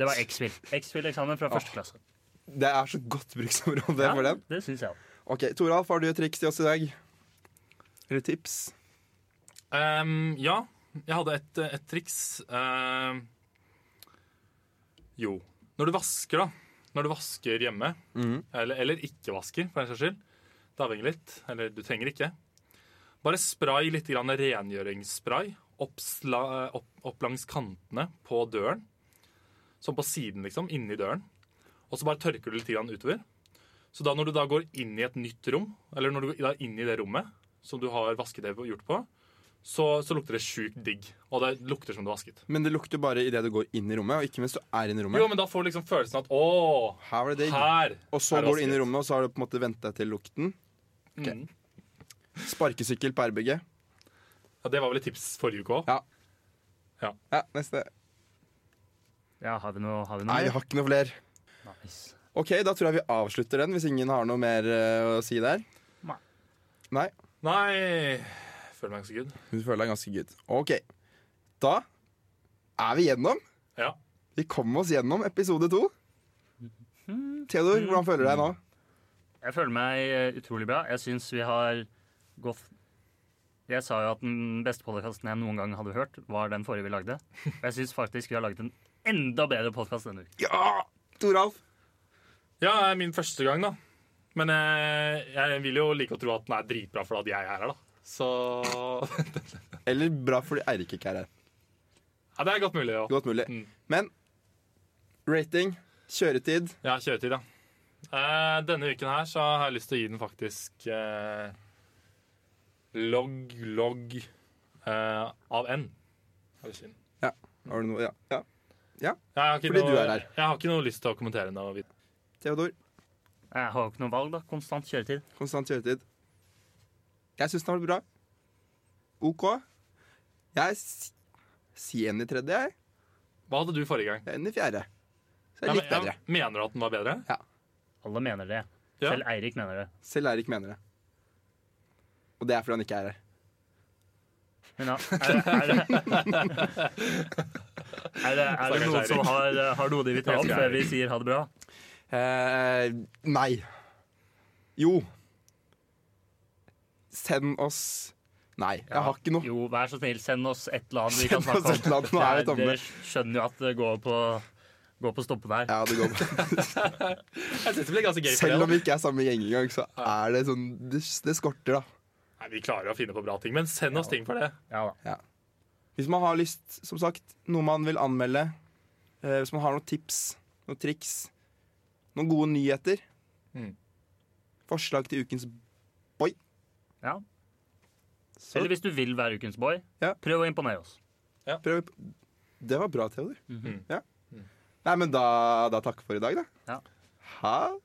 Speaker 3: Det var X-Fil. X-Fil-eksamen fra første klasse.
Speaker 1: Det er så godt bruksområde for den.
Speaker 3: det syns jeg.
Speaker 1: Ok, Toralf, har du et triks til oss i dag? Eller tips?
Speaker 2: Ehm, ja, jeg hadde et, et triks. Ehm, jo. Når du vasker, da. Når du vasker hjemme,
Speaker 1: Mhm.
Speaker 2: eller, eller ikke vasker, for den saks skyld. Det avhenger litt. Eller du trenger ikke. Bare spray litt grann rengjøringsspray opp, sla, opp, opp langs kantene på døren. Sånn på siden, liksom. Inni døren. Og så bare tørker du litt grann utover. Så da når du da går inn i et nytt rom, eller når du går da inn i det rommet som du har vasket det og gjort på, så, så lukter det sjukt digg. Og det lukter som du har vasket.
Speaker 1: Men det lukter bare idet du går inn i rommet, og ikke mens du er inne i
Speaker 2: Jo,
Speaker 1: rommet.
Speaker 2: men da får du liksom følelsen at å,
Speaker 1: Her var det digg.
Speaker 2: her
Speaker 1: Og så
Speaker 2: er det
Speaker 1: går du inn i
Speaker 2: vasket.
Speaker 1: rommet, og så har du på en måte vent deg til lukten. Ok.
Speaker 2: Mm.
Speaker 1: Sparkesykkel på RBG.
Speaker 2: Ja, det var vel et tips forrige uke òg.
Speaker 1: Ja. Ja, neste.
Speaker 3: Ja, har vi noe? Har vi noe?
Speaker 1: Nei, jeg har ikke noe flere.
Speaker 3: Nice.
Speaker 1: Ok, da tror jeg vi avslutter den, hvis ingen har noe mer eh, å si der.
Speaker 3: Nei.
Speaker 1: Nei,
Speaker 2: Nei jeg Føler meg ganske good.
Speaker 1: du føler deg ganske good. Ok, da er vi gjennom.
Speaker 2: Ja.
Speaker 1: Vi kom oss gjennom episode to. Theodor, hvordan føler du deg nå?
Speaker 3: Jeg føler meg eh, utrolig bra. Jeg syns vi har gått Jeg sa jo at den beste podkasten jeg noen gang hadde hørt, var den forrige vi lagde. Og jeg syns faktisk vi har laget en enda bedre podkast denne uken.
Speaker 1: Ja! Toralf.
Speaker 2: ja, det er min første gang, da. Men eh, jeg vil jo like å tro at den er dritbra for at jeg er her, da. Så ja,
Speaker 1: Eller bra fordi Eirik ikke er her.
Speaker 2: Det er godt mulig, ja.
Speaker 1: Godt mulig.
Speaker 2: Mm.
Speaker 1: Men rating, kjøretid
Speaker 2: Ja, kjøretid, ja. Eh, denne uken her så har jeg lyst til å gi den faktisk eh, logg, logg eh, av N. Har jeg lyst til å gi den.
Speaker 1: Har du noe? Ja. ja.
Speaker 2: Jeg har ikke
Speaker 1: Fordi
Speaker 2: noe,
Speaker 1: du er her.
Speaker 2: Jeg har ikke noe lyst til å kommentere noe. videre.
Speaker 1: Theodor,
Speaker 3: Jeg har jo ikke noe valg, da. Konstant kjøretid.
Speaker 1: konstant kjøretid. Jeg syns den har vært bra. OK. Jeg s- sier en i tredje, jeg.
Speaker 2: Hva hadde du forrige gang?
Speaker 1: Jeg er en i fjerde. Så
Speaker 2: Ja,
Speaker 1: jeg
Speaker 2: men-
Speaker 1: likte bedre.
Speaker 2: ja, Mener du at den var bedre?
Speaker 3: Alle mener det.
Speaker 2: Ja.
Speaker 3: Selv Eirik mener det.
Speaker 1: Selv Eirik mener det. Og det er fordi han ikke er her.
Speaker 3: Men ja, er, er, er, er, det- er det noen som har, eh, har noe de vil ta opp før vi sier ha det bra?
Speaker 1: Eh, nei. Jo. Send oss Nei, jeg har ikke noe.
Speaker 3: Jo, vær så snill, send oss et eller annet vi kan snakke om.
Speaker 1: Send oss et eller annet, nå er vi
Speaker 3: Det er-
Speaker 1: tomme.
Speaker 3: Dere skjønner jo at det går på, går på stoppe der.
Speaker 1: Ja, det går bra.
Speaker 2: Jeg synes det ble ganske gøy for
Speaker 1: Selv om
Speaker 2: det, da.
Speaker 1: vi ikke er samme gjeng engang, så er det sånn Det, det skorter, da.
Speaker 2: Nei, vi klarer å finne på bra ting, men send oss ting for det.
Speaker 3: Ja da.
Speaker 1: Hvis man har lyst, som sagt, noe man vil anmelde, eh, hvis man har noen tips, noen triks, noen gode nyheter,
Speaker 2: Mm.
Speaker 1: forslag til ukens boy,
Speaker 3: Ja.
Speaker 1: så
Speaker 3: Eller hvis du vil være ukens boy,
Speaker 1: Ja.
Speaker 3: prøv å imponere oss.
Speaker 1: prøv Det var bra, Theodor.
Speaker 2: Mhm.
Speaker 1: ja. Nei, men da, da takker vi for i dag, da.
Speaker 3: Ja.
Speaker 1: Ha